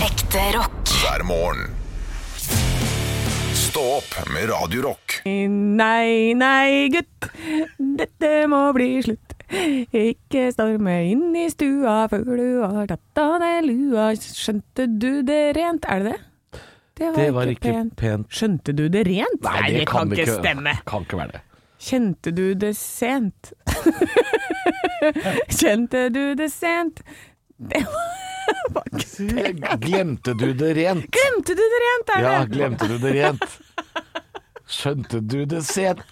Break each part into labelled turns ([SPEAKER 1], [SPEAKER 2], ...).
[SPEAKER 1] Ekte rock.
[SPEAKER 2] hver morgen. Stå opp med Radio Rock.
[SPEAKER 3] Nei, nei, gutt, dette må bli slutt. Ikke storme inn i stua før du har tatt av deg lua. Skjønte du det rent? Er det det? Det
[SPEAKER 4] Det var ikke pent.
[SPEAKER 3] Skjønte du det rent?
[SPEAKER 4] Kan ikke være det.
[SPEAKER 3] Kjente du det sent? Kjente du det sent? Det var ikke
[SPEAKER 4] Glemte du det rent?
[SPEAKER 3] Glemte du det rent, er det?
[SPEAKER 4] Ja, glemte du det rent? Skjønte du det sent?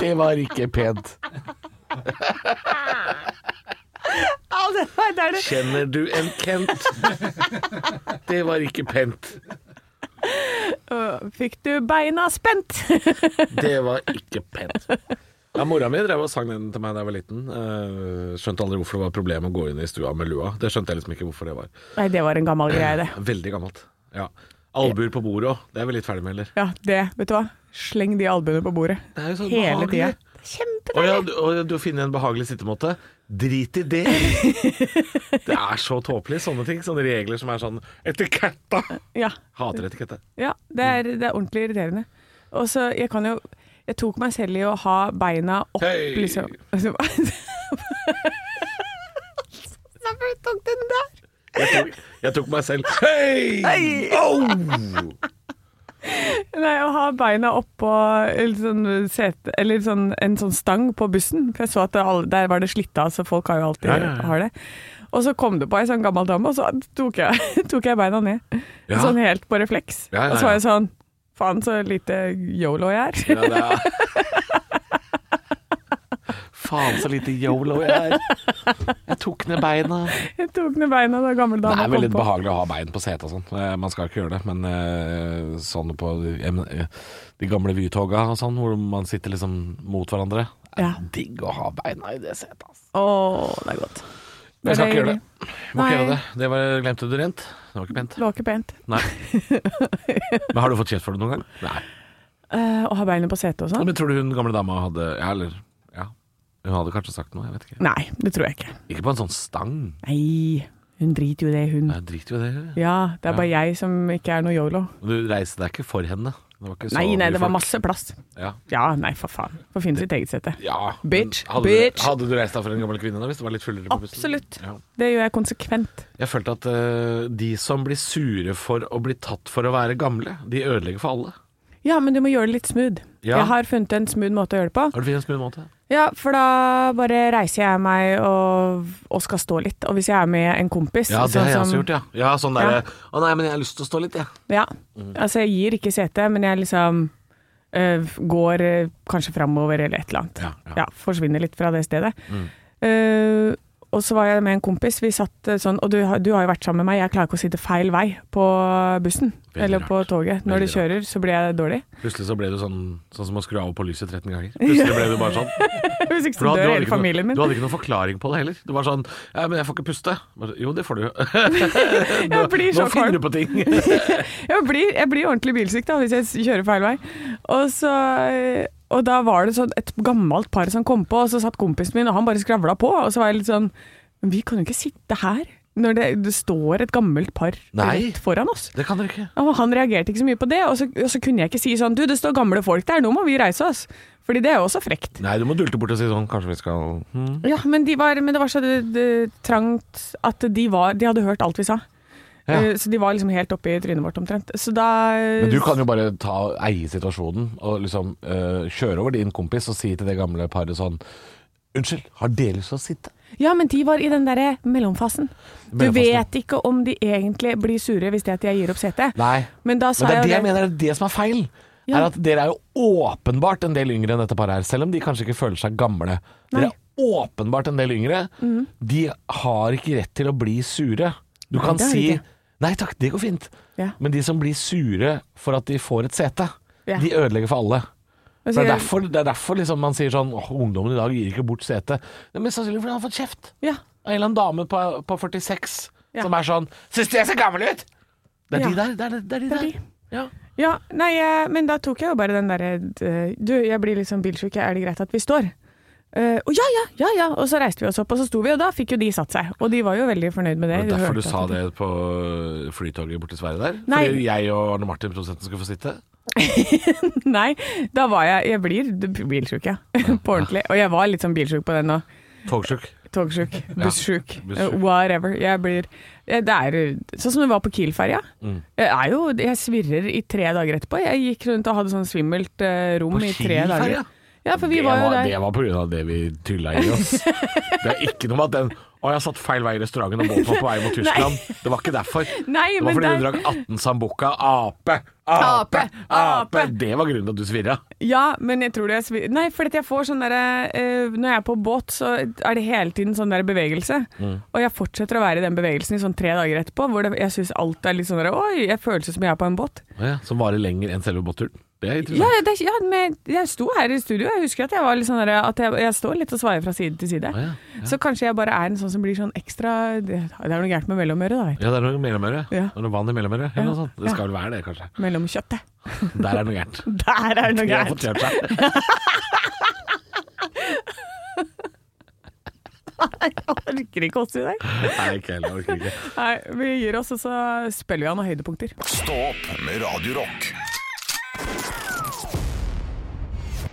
[SPEAKER 4] Det var ikke pent.
[SPEAKER 3] Ja, det var- det er det.
[SPEAKER 4] Kjenner du en Kent? Det var ikke pent.
[SPEAKER 3] Å, Fikk du beina spent?
[SPEAKER 4] Det var ikke pent.
[SPEAKER 5] Ja, Mora mi drev og sang den til meg da jeg var liten. Eh, skjønte aldri hvorfor det var et problem å gå inn i stua med lua. Det skjønte jeg liksom ikke hvorfor det var.
[SPEAKER 3] Nei, det var en gammel greie, det.
[SPEAKER 5] Veldig gammelt. Ja. Albuer på bordet òg. Det er vi litt ferdig med, eller?
[SPEAKER 3] Ja, det, vet du hva. Sleng de albuene på bordet.
[SPEAKER 5] Det er jo sånn
[SPEAKER 3] Hele tida.
[SPEAKER 5] behagelig. Å
[SPEAKER 3] Kjempedeilig.
[SPEAKER 5] ja, du, å ja, du finner en behagelig sittemåte. Drit i det! Det er så tåpelig, sånne ting. Sånne regler som er sånn Etiketta!
[SPEAKER 3] Ja,
[SPEAKER 5] Hater etikette.
[SPEAKER 3] ja det, er, det er ordentlig irriterende. Og så, jeg kan jo Jeg tok meg selv i å ha beina opp,
[SPEAKER 5] Hei!
[SPEAKER 3] liksom. Så Hvorfor tok du den der?
[SPEAKER 5] Jeg tok, jeg tok meg selv Hei! Au!
[SPEAKER 3] Nei, å ha beina oppå eller sånn sete, eller sånn, en sånn stang på bussen. For jeg så at det, alle- der var det slitt av, så folk har jo alltid
[SPEAKER 5] Ja, ja, ja.
[SPEAKER 3] har det. Og så kom det på ei sånn gammel dame, og så tok jeg, tok jeg beina ned.
[SPEAKER 5] Ja.
[SPEAKER 3] Sånn helt på refleks.
[SPEAKER 5] Ja, ja,
[SPEAKER 3] Og så var
[SPEAKER 5] ja.
[SPEAKER 3] jeg sånn Faen, så lite yolo jeg er.
[SPEAKER 5] Ja, det er
[SPEAKER 4] Faen så lite yolo jeg er. Jeg tok ned beina.
[SPEAKER 3] Jeg tok ned beina da gammel
[SPEAKER 5] Det
[SPEAKER 3] dama
[SPEAKER 5] er veldig
[SPEAKER 3] kom på.
[SPEAKER 5] behagelig å ha bein på setet og sånn. Eh, Man skal ikke gjøre det, men eh, sånn på jeg men- eh, de gamle Vy-toga og sånn, hvor man sitter liksom mot hverandre. Det
[SPEAKER 3] Ja.
[SPEAKER 5] er digg å ha beina i det setet, altså.
[SPEAKER 3] Å, det er godt.
[SPEAKER 5] Jeg skal
[SPEAKER 3] Det
[SPEAKER 5] ikke
[SPEAKER 3] er
[SPEAKER 5] gjøre det. Jeg Må
[SPEAKER 3] Nei.
[SPEAKER 5] ikke gjøre det. Det var, glemte du rent? Det var ikke pent.
[SPEAKER 3] Det var ikke pent.
[SPEAKER 5] Nei. Men har du fått kjeft for det noen gang? Nei.
[SPEAKER 3] Eh, å ha beina på setet og sånn?
[SPEAKER 5] Men tror du hun gamle dama hadde Ja, eller Ja. Hun hadde kanskje sagt noe, jeg vet ikke.
[SPEAKER 3] Nei, det tror jeg ikke.
[SPEAKER 5] Ikke på en sånn stang.
[SPEAKER 3] Nei, hun driter jo i det, hun.
[SPEAKER 5] Nei, Drit jo i det.
[SPEAKER 3] Ja, det er bare jeg som ikke er noe yolo.
[SPEAKER 5] Du reiste deg ikke for henne. Det var ikke så
[SPEAKER 3] Nei, nei,
[SPEAKER 5] mye
[SPEAKER 3] det var
[SPEAKER 5] folk.
[SPEAKER 3] masse plass.
[SPEAKER 5] Ja.
[SPEAKER 3] Ja, nei, for faen. Får finne sitt eget sete.
[SPEAKER 5] Ja,
[SPEAKER 3] Bitch,
[SPEAKER 5] men hadde
[SPEAKER 3] bitch.
[SPEAKER 5] Du, hadde du reist deg for en gammel kvinne da, hvis du var litt fullere på bussen?
[SPEAKER 3] Absolutt.
[SPEAKER 5] Ja.
[SPEAKER 3] Det gjør jeg konsekvent.
[SPEAKER 5] Jeg følte at eh, de som blir sure for å bli tatt for å være gamle, de ødelegger for alle.
[SPEAKER 3] Ja, men du må gjøre det litt smooth.
[SPEAKER 5] Ja.
[SPEAKER 3] Jeg har funnet en smooth måte å gjøre det på.
[SPEAKER 5] Har du funnet en smooth måte?
[SPEAKER 3] Ja, for da bare reiser jeg meg og, og skal stå litt. Og hvis jeg er med en kompis
[SPEAKER 5] Ja, det
[SPEAKER 3] sånn
[SPEAKER 5] har jeg
[SPEAKER 3] som-
[SPEAKER 5] også gjort, ja. Ja, sånn derre
[SPEAKER 3] Ja.
[SPEAKER 5] Å nei, men jeg har lyst til å stå litt, jeg.
[SPEAKER 3] Ja.
[SPEAKER 5] Mm.
[SPEAKER 3] Altså, jeg gir ikke sete, men jeg liksom øh, går øh, kanskje framover eller et eller annet.
[SPEAKER 5] Ja, ja. Mm.
[SPEAKER 3] forsvinner litt fra det stedet. Øh, og så var jeg med en kompis, vi satt øh, sånn, og du, har- du har jo vært sammen med meg, jeg klarer ikke å sitte feil vei på bussen,
[SPEAKER 5] Veldig
[SPEAKER 3] eller
[SPEAKER 5] rart.
[SPEAKER 3] på toget. Når
[SPEAKER 5] Veldig
[SPEAKER 3] du kjører, så blir jeg dårlig.
[SPEAKER 5] Plutselig så ble du sånn, sånn som å skru av og på lyset 13 ganger. Plutselig ble du bare sånn.
[SPEAKER 3] Hvis ikke
[SPEAKER 5] For
[SPEAKER 3] så dør
[SPEAKER 5] du hadde, du, hadde
[SPEAKER 3] hele
[SPEAKER 5] ikke
[SPEAKER 3] familien
[SPEAKER 5] noe,
[SPEAKER 3] min.
[SPEAKER 5] du hadde ikke noen forklaring på det heller. Du var sånn Ja, men jeg får ikke puste. Bare, jo, det får du. Nå,
[SPEAKER 3] Jeg blir så
[SPEAKER 5] nå
[SPEAKER 3] kvalm.
[SPEAKER 5] finner du på ting.
[SPEAKER 3] Jeg blir, jeg blir ordentlig bilsyk da, hvis jeg s- kjører feil vei. Og, så, eh, og da var det sånn et gammelt par som kom på, og så satt kompisen min, og han bare skravla på. Og så var jeg litt sånn Men vi kan jo ikke sitte her når det, det står et gammelt par
[SPEAKER 5] Nei.
[SPEAKER 3] rett foran oss.
[SPEAKER 5] Det kan dere ikke.
[SPEAKER 3] Og han reagerte ikke så mye på det, og så, og så kunne jeg ikke si sånn Du, det står gamle folk der, nå må vi reise oss. Fordi det er jo også frekt.
[SPEAKER 5] Nei, du må dulte bort og si sånn Kanskje vi skal hmm.
[SPEAKER 3] Ja, men, de var, men det var så det, det, trangt at de, var, de hadde hørt alt vi sa.
[SPEAKER 5] Ja.
[SPEAKER 3] Eh, Så de var liksom helt oppe i trynet vårt omtrent. Så da eh,
[SPEAKER 5] Men du kan jo bare ta, eie situasjonen og liksom eh, kjøre over din kompis og si til det gamle paret sånn Unnskyld, har dere lyst til å sitte?
[SPEAKER 3] Ja, men de var i den derre mellomfasen. Du
[SPEAKER 5] Mellomfasen, ja.
[SPEAKER 3] vet ikke om de egentlig blir sure hvis det at jeg gir opp setet.
[SPEAKER 5] Nei.
[SPEAKER 3] Men da
[SPEAKER 5] Men
[SPEAKER 3] sa
[SPEAKER 5] det er det
[SPEAKER 3] jeg
[SPEAKER 5] jeg
[SPEAKER 3] jo det.
[SPEAKER 5] mener er det som er feil.
[SPEAKER 3] Ja.
[SPEAKER 5] Er at Dere er jo åpenbart en del yngre enn dette paret her, selv om de kanskje ikke føler seg
[SPEAKER 3] Nei.
[SPEAKER 5] gamle.
[SPEAKER 3] Mhm.
[SPEAKER 5] Dere er åpenbart en del yngre. De har ikke rett til å bli sure. Du
[SPEAKER 3] Nei,
[SPEAKER 5] kan
[SPEAKER 3] det har de
[SPEAKER 5] si
[SPEAKER 3] ikke.
[SPEAKER 5] Nei takk, det går fint.
[SPEAKER 3] Ja.
[SPEAKER 5] Men de som blir sure for at de får et sete,
[SPEAKER 3] Ja.
[SPEAKER 5] de ødelegger for alle.
[SPEAKER 3] Og så
[SPEAKER 5] Det er
[SPEAKER 3] Altså, jeg-
[SPEAKER 5] derfor, det er derfor liksom man sier sånn Åh, Ungdommen i dag gir ikke bort setet. Det er mest sannsynlig fordi han har fått kjeft
[SPEAKER 3] Ja.
[SPEAKER 5] av en eller annen dame på, på 46
[SPEAKER 3] Ja.
[SPEAKER 5] som er sånn Syns du jeg ser gammel ut?! Det er
[SPEAKER 3] Ja.
[SPEAKER 5] de der. Det er, det er de
[SPEAKER 3] Det er
[SPEAKER 5] der.
[SPEAKER 3] de.
[SPEAKER 5] Ja.
[SPEAKER 3] ja. eh, Nei, jeg, men da tok jeg jo bare den derre Du, jeg blir liksom bilsjuk, er det greit at vi står? Eh, og ja, ja, ja, ja. Og så reiste vi oss opp, og så sto vi, og da fikk jo de satt seg. Og de var jo veldig fornøyd med det.
[SPEAKER 5] Det
[SPEAKER 3] De
[SPEAKER 5] var derfor du
[SPEAKER 3] hørte
[SPEAKER 5] sa
[SPEAKER 3] at-
[SPEAKER 5] det på øh, flytoget borte til Sverige der?
[SPEAKER 3] Nei.
[SPEAKER 5] Fordi jeg og Arne Martin, produsenten, skulle få sitte?
[SPEAKER 3] Nei, da var jeg Jeg blir bilsjuk, ja. på ordentlig. Og jeg var litt sånn bilsjuk på den nå.
[SPEAKER 5] Togsjuk.
[SPEAKER 3] Togsjuk, bussjuk,
[SPEAKER 5] bussjuk.
[SPEAKER 3] eh, whatever. Jeg blir eh, Det er eh, sånn som det var på Kiel-ferja.
[SPEAKER 5] Mm.
[SPEAKER 3] Jeg er jo Jeg svirrer i tre dager etterpå. Jeg gikk rundt og hadde sånn svimmelt eh, rom
[SPEAKER 5] På
[SPEAKER 3] i tre
[SPEAKER 5] Kiel-ferja?
[SPEAKER 3] dager. Ja, for vi
[SPEAKER 5] det,
[SPEAKER 3] var jo der.
[SPEAKER 4] det
[SPEAKER 5] var på grunn av det vi tulla i oss. Det er ikke noe med at den Å, jeg har satt feil vei i restauranten, og båten var på vei mot Tyskland. Det var ikke derfor.
[SPEAKER 3] Nei,
[SPEAKER 5] det var
[SPEAKER 3] men
[SPEAKER 5] fordi du
[SPEAKER 3] der-
[SPEAKER 5] drakk 18 Sambuca. Ape, ape,
[SPEAKER 3] Ape,
[SPEAKER 5] ape.
[SPEAKER 3] ape.
[SPEAKER 5] Det var grunnen til at du svirra.
[SPEAKER 3] Ja, men jeg tror det er svi- Nei, for jeg får sånn derre eh, Når jeg er på båt, så er det hele tiden sånn der bevegelse.
[SPEAKER 5] Mm.
[SPEAKER 3] Og jeg fortsetter å være i den bevegelsen i sånn tre dager etterpå, hvor det, jeg syns alt er litt sånn derre Oi, jeg føles som jeg er på en båt.
[SPEAKER 5] Å ja, som varer lenger enn selve båtturen. Det er
[SPEAKER 3] Ja,
[SPEAKER 5] interessant.
[SPEAKER 3] ja, det, er- ja men jeg sto her i studio, jeg husker at jeg var litt sånn derre At jeg, jeg står litt og svaier fra side til side.
[SPEAKER 5] Å ja,
[SPEAKER 3] Så kanskje jeg bare er en sånn som blir sånn ekstra Det, det er noe gærent med mellomøret, da. vet du.
[SPEAKER 5] Ja, det er noe mellomøre.
[SPEAKER 3] Ja.
[SPEAKER 5] Det er noe vann i mellomøre. Eller noe
[SPEAKER 3] Ja.
[SPEAKER 5] sånt. Det skal vel være det, kanskje.
[SPEAKER 3] Mellomkjøttet.
[SPEAKER 5] Der er det noe gærent.
[SPEAKER 3] Der er det noe
[SPEAKER 5] De har
[SPEAKER 3] gærent!
[SPEAKER 5] fortjent seg.
[SPEAKER 3] Jeg orker ikke oss i dag.
[SPEAKER 5] Nei, ikke heller. Orker ikke.
[SPEAKER 3] Nei, vi gir oss, og så spiller vi av noen høydepunkter.
[SPEAKER 2] Stå opp med Radio Rock.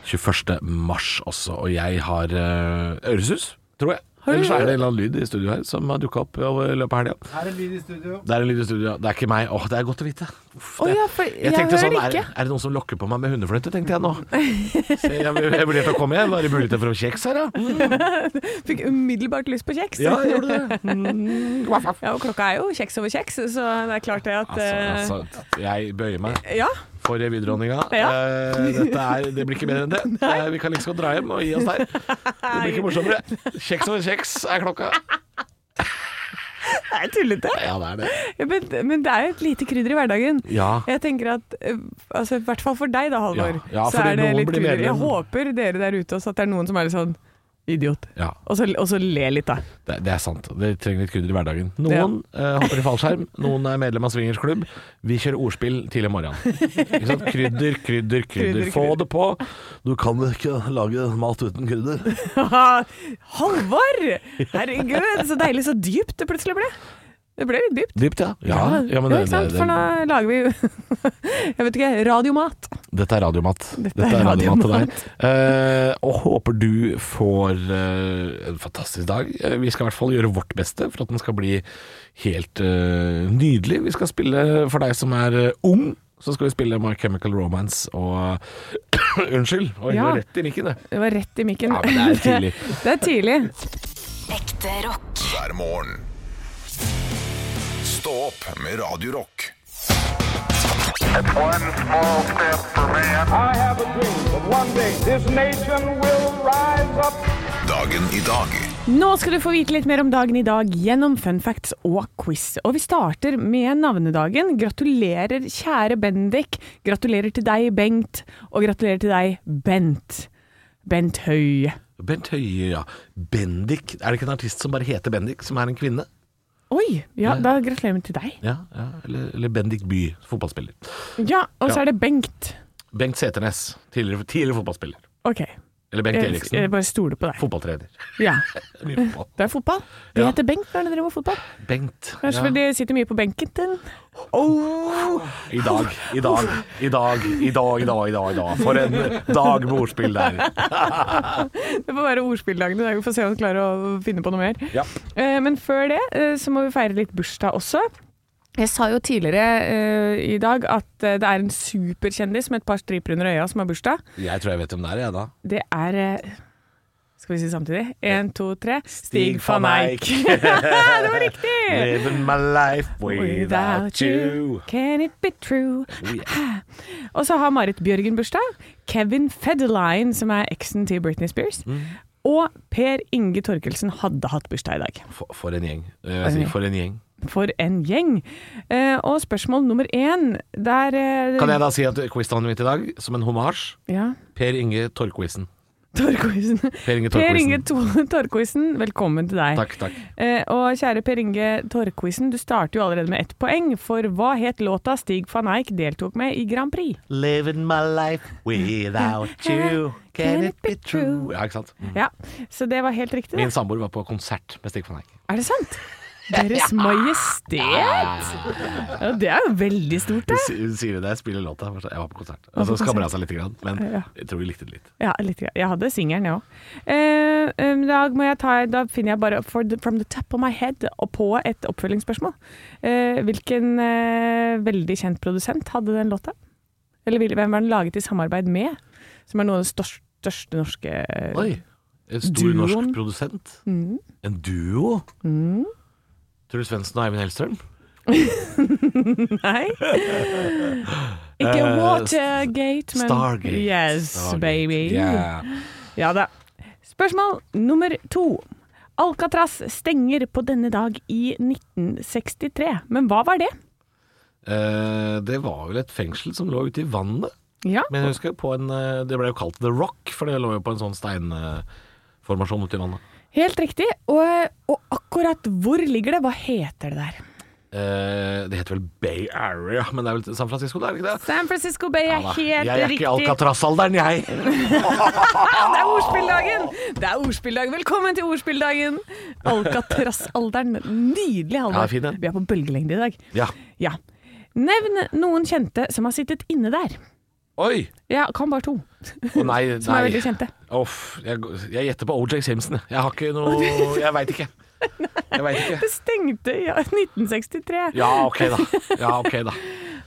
[SPEAKER 5] 21. mars også, og jeg har eh, øresus, tror jeg.
[SPEAKER 3] du
[SPEAKER 5] Ellers er
[SPEAKER 3] det?
[SPEAKER 5] det en eller annen lyd i studio her som har dukka opp i løpet av helga. Det er en lyd i studio. Det er ikke meg. Åh, det er godt å vite. Uff,
[SPEAKER 3] Å
[SPEAKER 5] det-
[SPEAKER 3] ja, for jeg,
[SPEAKER 5] tenkte
[SPEAKER 3] hører
[SPEAKER 5] sånn,
[SPEAKER 3] det ikke.
[SPEAKER 5] Er, er det noen som lokker på meg med hundefløyte, tenkte jeg nå. Så jeg, jeg vurderte å komme igjen. Var det muligheter for å kjeks her, da?
[SPEAKER 3] Fikk umiddelbart lyst på kjeks.
[SPEAKER 5] Ja, jeg gjorde det. Mm, vaff, vaff.
[SPEAKER 3] Ja, og klokka er jo kjeks over kjeks, så det er klart det at
[SPEAKER 5] Altså,
[SPEAKER 3] eh,
[SPEAKER 5] altså, jeg bøyer meg
[SPEAKER 3] Ja.
[SPEAKER 5] for revydronninga.
[SPEAKER 3] Ja.
[SPEAKER 5] Eh, dette er, det blir ikke bedre enn det. Eh, vi kan like så godt dra hjem og gi oss der. Det blir ikke morsommere. Kjeks over kjeks er klokka.
[SPEAKER 3] Det er tullete.
[SPEAKER 5] Ja, det er det.
[SPEAKER 3] Ja, Men, men det er jo et lite krydder i hverdagen.
[SPEAKER 5] Ja.
[SPEAKER 3] Jeg tenker at, eh, altså, I hvert fall for deg da, Halvor,
[SPEAKER 5] Ja. Ja,
[SPEAKER 3] så
[SPEAKER 5] fordi
[SPEAKER 3] er det
[SPEAKER 5] noen
[SPEAKER 3] litt
[SPEAKER 5] blir
[SPEAKER 3] krydder. Jeg
[SPEAKER 5] medlem.
[SPEAKER 3] håper dere der ute også at det er noen som er litt sånn idiot,
[SPEAKER 5] ja.
[SPEAKER 3] og så, og så le litt, da.
[SPEAKER 5] Det, det er sant. Det trenger litt krydder i hverdagen. Noen eh, hopper i fallskjerm, noen er medlem av swingersklubb. Vi kjører ordspill tidlig om morgenen. Ikke sant? Krydder, krydder, krydder.
[SPEAKER 3] Krydder,
[SPEAKER 5] Få
[SPEAKER 3] krydder.
[SPEAKER 5] det på. Du kan ikke lage mat uten krydder.
[SPEAKER 3] Halvor! Herregud, så deilig, så dypt det plutselig ble. Det ble litt dypt.
[SPEAKER 5] Dypt, ja. Ja, ja, men
[SPEAKER 3] Ja,
[SPEAKER 5] det,
[SPEAKER 3] ikke
[SPEAKER 5] det,
[SPEAKER 3] sant? For nå
[SPEAKER 5] det,
[SPEAKER 3] lager vi jo Jeg vet ikke, radiomat.
[SPEAKER 5] dette er radiomat.
[SPEAKER 3] Dette
[SPEAKER 5] Dette
[SPEAKER 3] er
[SPEAKER 5] er radiomat til deg.
[SPEAKER 3] radiomat.
[SPEAKER 5] Eh, og håper du får eh, en fantastisk dag. Eh, vi skal i hvert fall gjøre vårt beste for at den skal bli helt eh, nydelig. Vi skal spille for deg som er eh, ung. Så skal vi spille My Chemical Romance og Unnskyld, oi, det
[SPEAKER 3] Ja.
[SPEAKER 5] var rett i mikken, det.
[SPEAKER 3] Det var rett i mikken.
[SPEAKER 5] Ja, men det er tidlig.
[SPEAKER 3] det er tidlig.
[SPEAKER 1] Ekte rock.
[SPEAKER 2] hver morgen. Stå opp med Radio Rock.
[SPEAKER 6] One small step for man.
[SPEAKER 7] I have a dream that one day this nation will rise up.
[SPEAKER 2] Dagen i dag
[SPEAKER 3] Nå skal du få vite litt mer om dagen i dag gjennom fun facts og quiz. Og vi starter med navnedagen. Gratulerer, kjære Bendik. Gratulerer til deg, Bengt. Og gratulerer til deg, Bent. Bent Høie.
[SPEAKER 5] Bent Høie, ja. Bendik. Er det ikke en artist som bare heter Bendik, som er en kvinne?
[SPEAKER 3] Oi! Ja, da gratulerer vi til deg.
[SPEAKER 5] Ja, ja. Eller, eller Bendik By, fotballspiller.
[SPEAKER 3] Ja, og
[SPEAKER 5] Ja.
[SPEAKER 3] så er det Bengt.
[SPEAKER 5] Bengt Seternes, tidligere, tidligere fotballspiller.
[SPEAKER 3] OK.
[SPEAKER 5] Eller Bengt
[SPEAKER 3] Jeg, jeg
[SPEAKER 5] Eriksen,
[SPEAKER 3] bare stoler på deg.
[SPEAKER 5] fotballtrener.
[SPEAKER 3] Ja.
[SPEAKER 5] Mye fotball.
[SPEAKER 3] Det er fotball. De
[SPEAKER 5] Ja.
[SPEAKER 3] heter Bengt når de driver med fotball.
[SPEAKER 5] Bengt.
[SPEAKER 3] Kanskje fordi de sitter mye på benken til oh.
[SPEAKER 5] I dag, i dag, i dag, i dag, i dag, i dag, i dag. For en dag med ordspill der.
[SPEAKER 3] Det får være ordspilldagen i dag. Vi får se om vi klarer å finne på noe mer.
[SPEAKER 5] Ja.
[SPEAKER 3] Eh, Men før det eh, så må vi feire litt bursdag også. Jeg sa jo tidligere eh, i dag at eh, det er en superkjendis med et par striper under øya som har bursdag.
[SPEAKER 5] Jeg tror jeg vet hvem det er, jeg da.
[SPEAKER 3] Det er eh, Skal vi si samtidig? Én, to, tre.
[SPEAKER 5] Stig van Eyck.
[SPEAKER 3] det var riktig!
[SPEAKER 5] Living my life
[SPEAKER 3] Without you, can it be true?
[SPEAKER 5] Oh,
[SPEAKER 3] Og så har Marit Bjørgen bursdag. Kevin Federline, som er eksen til Britney Spears.
[SPEAKER 5] Mm.
[SPEAKER 3] Og Per Inge Torkelsen hadde hatt bursdag i dag.
[SPEAKER 5] For, for en gjeng. Eh, Jeg sier for en gjeng.
[SPEAKER 3] For en gjeng. Eh, og spørsmål nummer én der eh,
[SPEAKER 5] Kan jeg da si at quiznavnet mitt i dag, som en hommage,
[SPEAKER 3] Ja.
[SPEAKER 5] Per Inge Torquisen.
[SPEAKER 3] Torkoisen.
[SPEAKER 5] Per Inge
[SPEAKER 3] Per Inge
[SPEAKER 5] Torkelsen.
[SPEAKER 3] To- Torkoisen, velkommen til deg.
[SPEAKER 5] Takk, takk.
[SPEAKER 3] Eh, og kjære Per Inge Torkoisen, du starter jo allerede med ett poeng, for hva het låta Stig van Eijk deltok med i Grand Prix?
[SPEAKER 4] Living my life without you, can it be true?
[SPEAKER 5] Ja, ikke sant?
[SPEAKER 3] Ja, Så det var helt riktig,
[SPEAKER 5] Min
[SPEAKER 3] det.
[SPEAKER 5] samboer var på konsert med Stig van Eijk.
[SPEAKER 3] Er det sant? Deres Majestet! Ja, det er jo veldig stort, det.
[SPEAKER 5] Hun si- hun sier det der, spiller låta. Jeg var sånn, Jeg var på konsert. Og så
[SPEAKER 3] på
[SPEAKER 5] skammer hun seg litt, grann, men
[SPEAKER 3] Ja.
[SPEAKER 5] jeg tror vi likte det litt.
[SPEAKER 3] Ja, litt. grann. Jeg hadde singelen, jeg òg. Eh, em, da, må jeg ta- da finner jeg bare for the, from the top of my head og på et oppfølgingsspørsmål. Eh, hvilken eh, veldig kjent produsent hadde den låta? Eller vil- hvem var den laget i samarbeid med? Som er noe av det største, største norske
[SPEAKER 5] Oi! En stor
[SPEAKER 3] Duoen. Mm.
[SPEAKER 5] norsk produsent. En duo. Truls Svendsen og Eivind Hellstrøm.
[SPEAKER 3] Nei? Ikke
[SPEAKER 5] Eh,
[SPEAKER 3] Watergate, men
[SPEAKER 5] Stargate.
[SPEAKER 3] Yes,
[SPEAKER 5] Stargate.
[SPEAKER 3] baby.
[SPEAKER 5] Yeah.
[SPEAKER 3] Ja da. Spørsmål nummer to. Alcatraz stenger på denne dag i 1963, men hva var det?
[SPEAKER 5] Eh, det var vel et fengsel som lå ute i vannet.
[SPEAKER 3] Ja,
[SPEAKER 5] Men jeg husker på en eh, Det ble jo kalt The Rock, for det lå jo på en sånn steinformasjon ute i vannet.
[SPEAKER 3] helt riktig. Og, og akkurat hvor ligger det? Hva heter det der?
[SPEAKER 5] Eh, det heter vel Bay Area, men det er vel San Francisco, det er det ikke det?
[SPEAKER 3] San Francisco Bay er
[SPEAKER 5] Ja da.
[SPEAKER 3] helt
[SPEAKER 5] jeg er
[SPEAKER 3] riktig.
[SPEAKER 5] ikke i Alcatraz-alderen, jeg.
[SPEAKER 3] Ah, det er ordspilldagen! Det er ordspilldagen. Velkommen til ordspilldagen! Alcatraz-alderen. Nydelig, Halvor.
[SPEAKER 5] Ja, fin den.
[SPEAKER 3] Vi er på bølgelengde i dag.
[SPEAKER 5] Ja.
[SPEAKER 3] Ja. Nevn noen kjente som har sittet inne der.
[SPEAKER 5] Oi!
[SPEAKER 3] Ja, kan bare to.
[SPEAKER 5] Å nei,
[SPEAKER 3] Som er
[SPEAKER 5] nei.
[SPEAKER 3] veldig kjente.
[SPEAKER 5] Uff, jeg, jeg gjetter på OJ Simpson. jeg. Jeg har ikke noe Jeg veit ikke. Jeg veit ikke.
[SPEAKER 3] Det stengte i 1963.
[SPEAKER 5] Ja, ok, da. Ja, ok da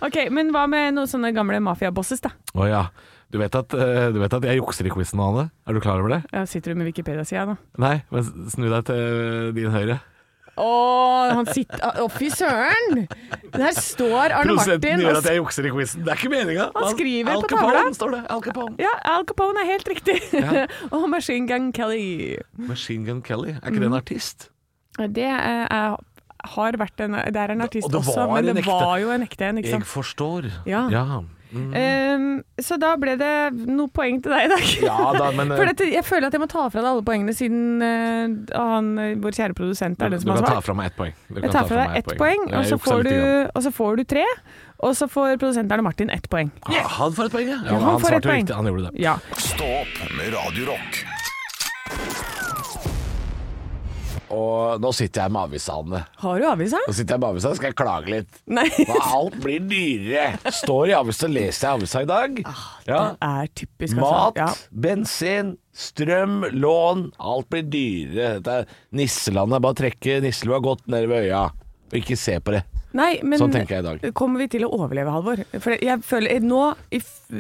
[SPEAKER 3] Ok, Men hva med noen sånne gamle mafiabosses, da?
[SPEAKER 5] Å ja. Du vet, at, eh, du vet at jeg jukser i quizen, Anne? Er du klar over det?
[SPEAKER 3] Ja, sitter du med Wikipedia-sida nå?
[SPEAKER 5] Nei, men snu deg til din høyre.
[SPEAKER 3] Å, han sitter Å, fy søren! Der står Arne
[SPEAKER 5] Produsenten
[SPEAKER 3] Martin
[SPEAKER 5] gjør
[SPEAKER 3] og
[SPEAKER 5] at jeg jukser i quizen. Det er ikke meninga.
[SPEAKER 3] Han skriver
[SPEAKER 5] Al
[SPEAKER 3] på
[SPEAKER 5] Capone,
[SPEAKER 3] tavla.
[SPEAKER 5] står det. Al Capone.
[SPEAKER 3] ja, Al Capone er helt riktig. og Machine Gun Kelly.
[SPEAKER 5] Machine Gun Kelly.
[SPEAKER 3] Mm.
[SPEAKER 5] Er ikke det en artist?
[SPEAKER 3] Det eh, er, har vært en Det er en artist
[SPEAKER 5] Og det
[SPEAKER 3] også,
[SPEAKER 5] var
[SPEAKER 3] men
[SPEAKER 5] en
[SPEAKER 3] det
[SPEAKER 5] ekte.
[SPEAKER 3] var jo en ekte en, ikke
[SPEAKER 5] Jeg
[SPEAKER 3] sant. Ah.
[SPEAKER 5] forstår.
[SPEAKER 3] Ja.
[SPEAKER 5] ja. Mm.
[SPEAKER 3] Ehm, så da ble det noe poeng til deg i dag.
[SPEAKER 5] Ja da, men, eh,
[SPEAKER 3] For dette, jeg føler at jeg må ta fra deg alle poengene, siden eh, han, eh, vår kjære produsent er
[SPEAKER 5] Du
[SPEAKER 3] den som
[SPEAKER 5] kan
[SPEAKER 3] har
[SPEAKER 5] ta
[SPEAKER 3] svart.
[SPEAKER 5] fra meg ett poeng. Du kan
[SPEAKER 3] Jeg tar
[SPEAKER 5] ta
[SPEAKER 3] fra
[SPEAKER 5] meg
[SPEAKER 3] deg ett poeng,
[SPEAKER 5] Jeg
[SPEAKER 3] og så,
[SPEAKER 5] juksa
[SPEAKER 3] får
[SPEAKER 5] litt
[SPEAKER 3] du,
[SPEAKER 5] grann.
[SPEAKER 3] og så får du tre. Og så får produsenten Arne Martin ett poeng.
[SPEAKER 5] Ah, Han får et poeng, ja. ja
[SPEAKER 3] Ja, han
[SPEAKER 5] men han
[SPEAKER 3] får et
[SPEAKER 5] svarte jo
[SPEAKER 3] poeng.
[SPEAKER 5] riktig. Han gjorde det.
[SPEAKER 3] Ja.
[SPEAKER 2] Stå opp med Radio Rock.
[SPEAKER 4] Og nå sitter jeg med avisa, Anne.
[SPEAKER 3] Har du avisa?
[SPEAKER 4] Nå sitter jeg med avisa, skal jeg klage litt.
[SPEAKER 3] Nei.
[SPEAKER 4] Og alt blir dyrere. Står i avisa, leser jeg avisa i dag. Ja.
[SPEAKER 3] Det Ah, er typisk, altså.
[SPEAKER 4] Mat, bensin, strøm, lån. Alt blir dyrere. Dette er nisselandet. Bare trekke nisselua godt ned ved øya, og ikke se på det.
[SPEAKER 3] Nei, men
[SPEAKER 4] Sånn tenker jeg i dag.
[SPEAKER 3] kommer vi til å overleve, Halvor? For jeg føler nå, i, f-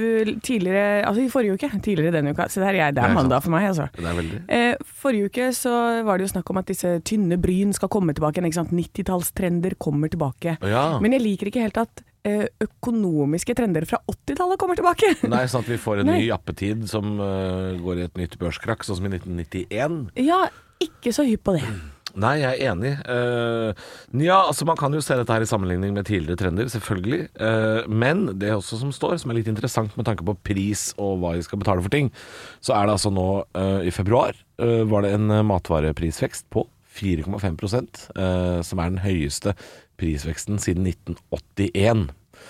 [SPEAKER 3] tidligere, altså i forrige uke, tidligere denne uka, se der, jeg, det
[SPEAKER 5] er
[SPEAKER 3] er
[SPEAKER 5] sant.
[SPEAKER 3] mandag for meg, altså.
[SPEAKER 5] Det er veldig
[SPEAKER 3] Eh, forrige uke så var det jo snakk om at disse tynne bryn skal komme tilbake igjen, ikke sant. 90-tallstrender kommer tilbake.
[SPEAKER 5] Ja.
[SPEAKER 3] Men jeg liker ikke helt at eh, økonomiske trender fra 80-tallet kommer tilbake.
[SPEAKER 5] Nei, sånn at vi får en
[SPEAKER 3] Nei.
[SPEAKER 5] ny jappetid som øh, går i et nytt børskrakk, sånn som i 1991.
[SPEAKER 3] Ja, ikke så hypp på det.
[SPEAKER 5] Nei, jeg er enig. Eh, Nja, altså man kan jo se dette her i sammenligning med tidligere trender, selvfølgelig. Eh, men det også som står, som er litt interessant med tanke på pris og hva vi skal betale for ting, så er det altså nå eh, i februar eh, var det en eh, matvareprisvekst på 4,5 eh, som er den høyeste prisveksten siden 1981.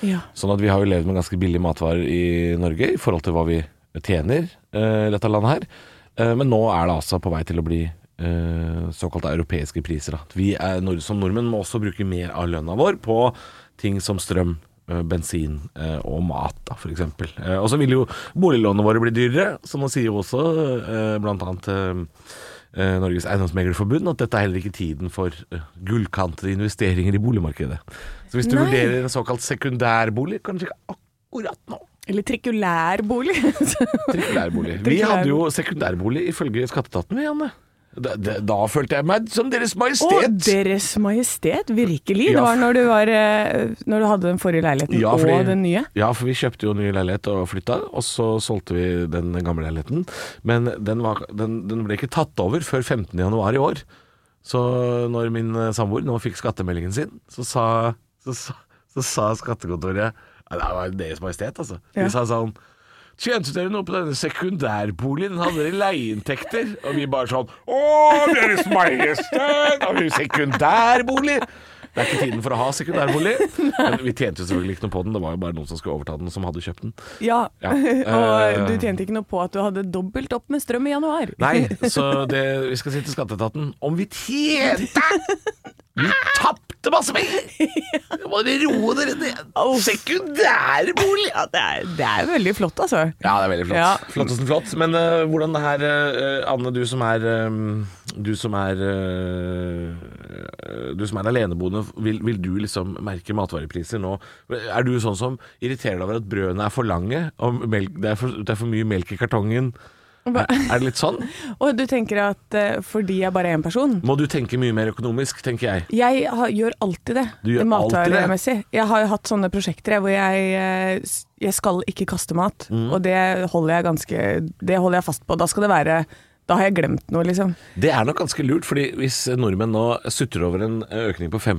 [SPEAKER 3] Ja.
[SPEAKER 5] Sånn at vi har jo levd med ganske billige matvarer i Norge i forhold til hva vi tjener eh, i dette landet her. Eh, men nå er det altså på vei til å bli eh, såkalte europeiske priser. Da. Vi er, nord- som nordmenn må også bruke mer av lønna vår på ting som strøm, eh, bensin eh, og mat, da, for eksempel. Eh, og så vil jo boliglånene våre bli dyrere, så nå sier jo også eh, blant annet eh, eh, Norges Eiendomsmeglerforbund at dette er heller ikke tiden for eh, gullkantede investeringer i boligmarkedet. Så hvis du
[SPEAKER 3] Nei.
[SPEAKER 5] vurderer en såkalt sekundærbolig, kanskje ikke akkurat nå.
[SPEAKER 3] Eller trikulærbolig.
[SPEAKER 5] Trikkulærbolig. Vi
[SPEAKER 3] Trikkulærbolig.
[SPEAKER 5] hadde jo sekundærbolig ifølge skatteetaten, vi, Anne.
[SPEAKER 4] Da, da, da følte jeg meg som Deres
[SPEAKER 3] Å,
[SPEAKER 4] Majestet.
[SPEAKER 3] Deres Majestet, virkelig.
[SPEAKER 5] Ja.
[SPEAKER 3] Det var når du, var, eh, når du hadde den forrige leiligheten
[SPEAKER 5] Ja, fordi-
[SPEAKER 3] og den nye.
[SPEAKER 5] Ja, for vi kjøpte jo ny leilighet og flytta, og så solgte vi den gamle leiligheten. Men den, var, den, den ble ikke tatt over før 15. januar i år. Så når min eh, samboer nå fikk skattemeldingen sin, så sa, så, sa- så sa skattekontoret «Nei, Det var Deres Majestet, altså.
[SPEAKER 3] Ja.
[SPEAKER 5] De sa sånn Tjente dere noe på denne sekundærboligen? Hadde dere leieinntekter? Og vi bare sånn Å, Deres Majestet! Har vi sekundærbolig? Det er ikke tiden for å ha sekundærbolig. Men vi tjente jo selvfølgelig ikke noe på den, det var jo bare noen som skulle overta den, som hadde kjøpt den.
[SPEAKER 3] Ja,
[SPEAKER 5] Ja.
[SPEAKER 3] og
[SPEAKER 5] Eh.
[SPEAKER 3] du tjente ikke noe på at du hadde dobbelt opp med strøm i januar.
[SPEAKER 5] Nei, så det, vi skal si til skatteetaten Om vi tjente Vi tapte masse penger Nå Må dere roe dere ned Sekundærbolig
[SPEAKER 3] Ja, det er, det er veldig flott, altså.
[SPEAKER 5] Ja, det er veldig flott
[SPEAKER 3] Ja.
[SPEAKER 5] Flottesten flott Men eh, hvordan det her eh, Anne, du som er eh, Du som er eh, Du som er aleneboende vil, vil du liksom merke matvarepriser nå? Er du sånn som irriterer deg over at brødene er for lange Og melk, det, er for, det er for mye melk i kartongen er, er det litt sånn?
[SPEAKER 3] Og du tenker at eh, fordi jeg bare er én person
[SPEAKER 5] Må du tenke mye mer økonomisk, tenker jeg
[SPEAKER 3] Jeg har, gjør alltid det,
[SPEAKER 5] Du gjør
[SPEAKER 3] matvaremessig. Jeg har jo hatt sånne prosjekter jeg, hvor jeg, eh, s- jeg skal ikke kaste mat,
[SPEAKER 5] Mm.
[SPEAKER 3] og det holder jeg ganske Det holder jeg fast på. Da skal det være Da har jeg glemt noe, liksom.
[SPEAKER 5] Det er nok ganske lurt, fordi hvis nordmenn nå sutrer over en økning på 5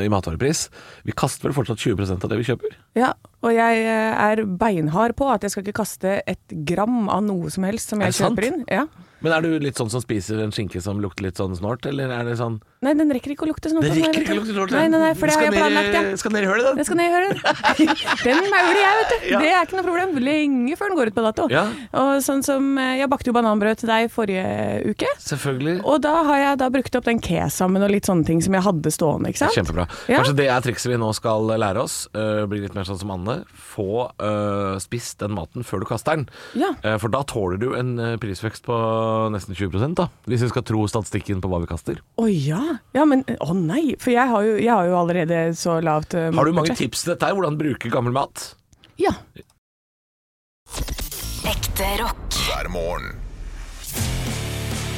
[SPEAKER 5] i matvarepris Vi kaster vel fortsatt 20 av det vi kjøper?
[SPEAKER 3] Ja, og jeg eh, er beinhard på at jeg skal ikke kaste et gram av noe som helst som
[SPEAKER 5] Er
[SPEAKER 3] jeg
[SPEAKER 5] det sant?
[SPEAKER 3] kjøper inn. Ja.
[SPEAKER 5] Men er du litt sånn som spiser en skinke som lukter litt sånn snort, eller er det sånn
[SPEAKER 3] Nei, den rekker ikke å lukte snort.
[SPEAKER 5] Det
[SPEAKER 3] den her,
[SPEAKER 5] rekker
[SPEAKER 3] vet
[SPEAKER 5] ikke
[SPEAKER 3] du.
[SPEAKER 5] å lukte snort,
[SPEAKER 3] Nei, nei, nei, for det har jeg planlagt, ja.
[SPEAKER 5] Skal ned i hølet,
[SPEAKER 3] Det
[SPEAKER 5] den?
[SPEAKER 3] skal ned i hølet. Den mauler jeg, vet du. Det er ikke noe problem. Lenge før den går ut på dato.
[SPEAKER 5] Ja.
[SPEAKER 3] Og sånn som eh, Jeg bakte jo bananbrød til deg forrige uke.
[SPEAKER 5] Selvfølgelig.
[SPEAKER 3] Og da har jeg da brukt opp den kesamen og litt sånne ting som jeg hadde stående, ikke sant?
[SPEAKER 5] Kjempebra.
[SPEAKER 3] Ja.
[SPEAKER 5] Kanskje det er trikset vi nå skal lære oss. øh, bli litt mer sånn som Anne. Få øh, spist den maten før du kaster den.
[SPEAKER 3] Ja.
[SPEAKER 5] Eh, for da tåler du en øh, prisvekst på nesten 20 da. Hvis vi skal tro statistikken på hva vi kaster.
[SPEAKER 3] Å ja. ja, men å nei. For jeg har jo, jeg har jo allerede så lavt eh,
[SPEAKER 5] Har du mange
[SPEAKER 3] matbudsjett.
[SPEAKER 5] tips til dette her? Hvordan bruke gammel mat?
[SPEAKER 3] Ja.
[SPEAKER 1] Ekte rock.
[SPEAKER 8] hver morgen.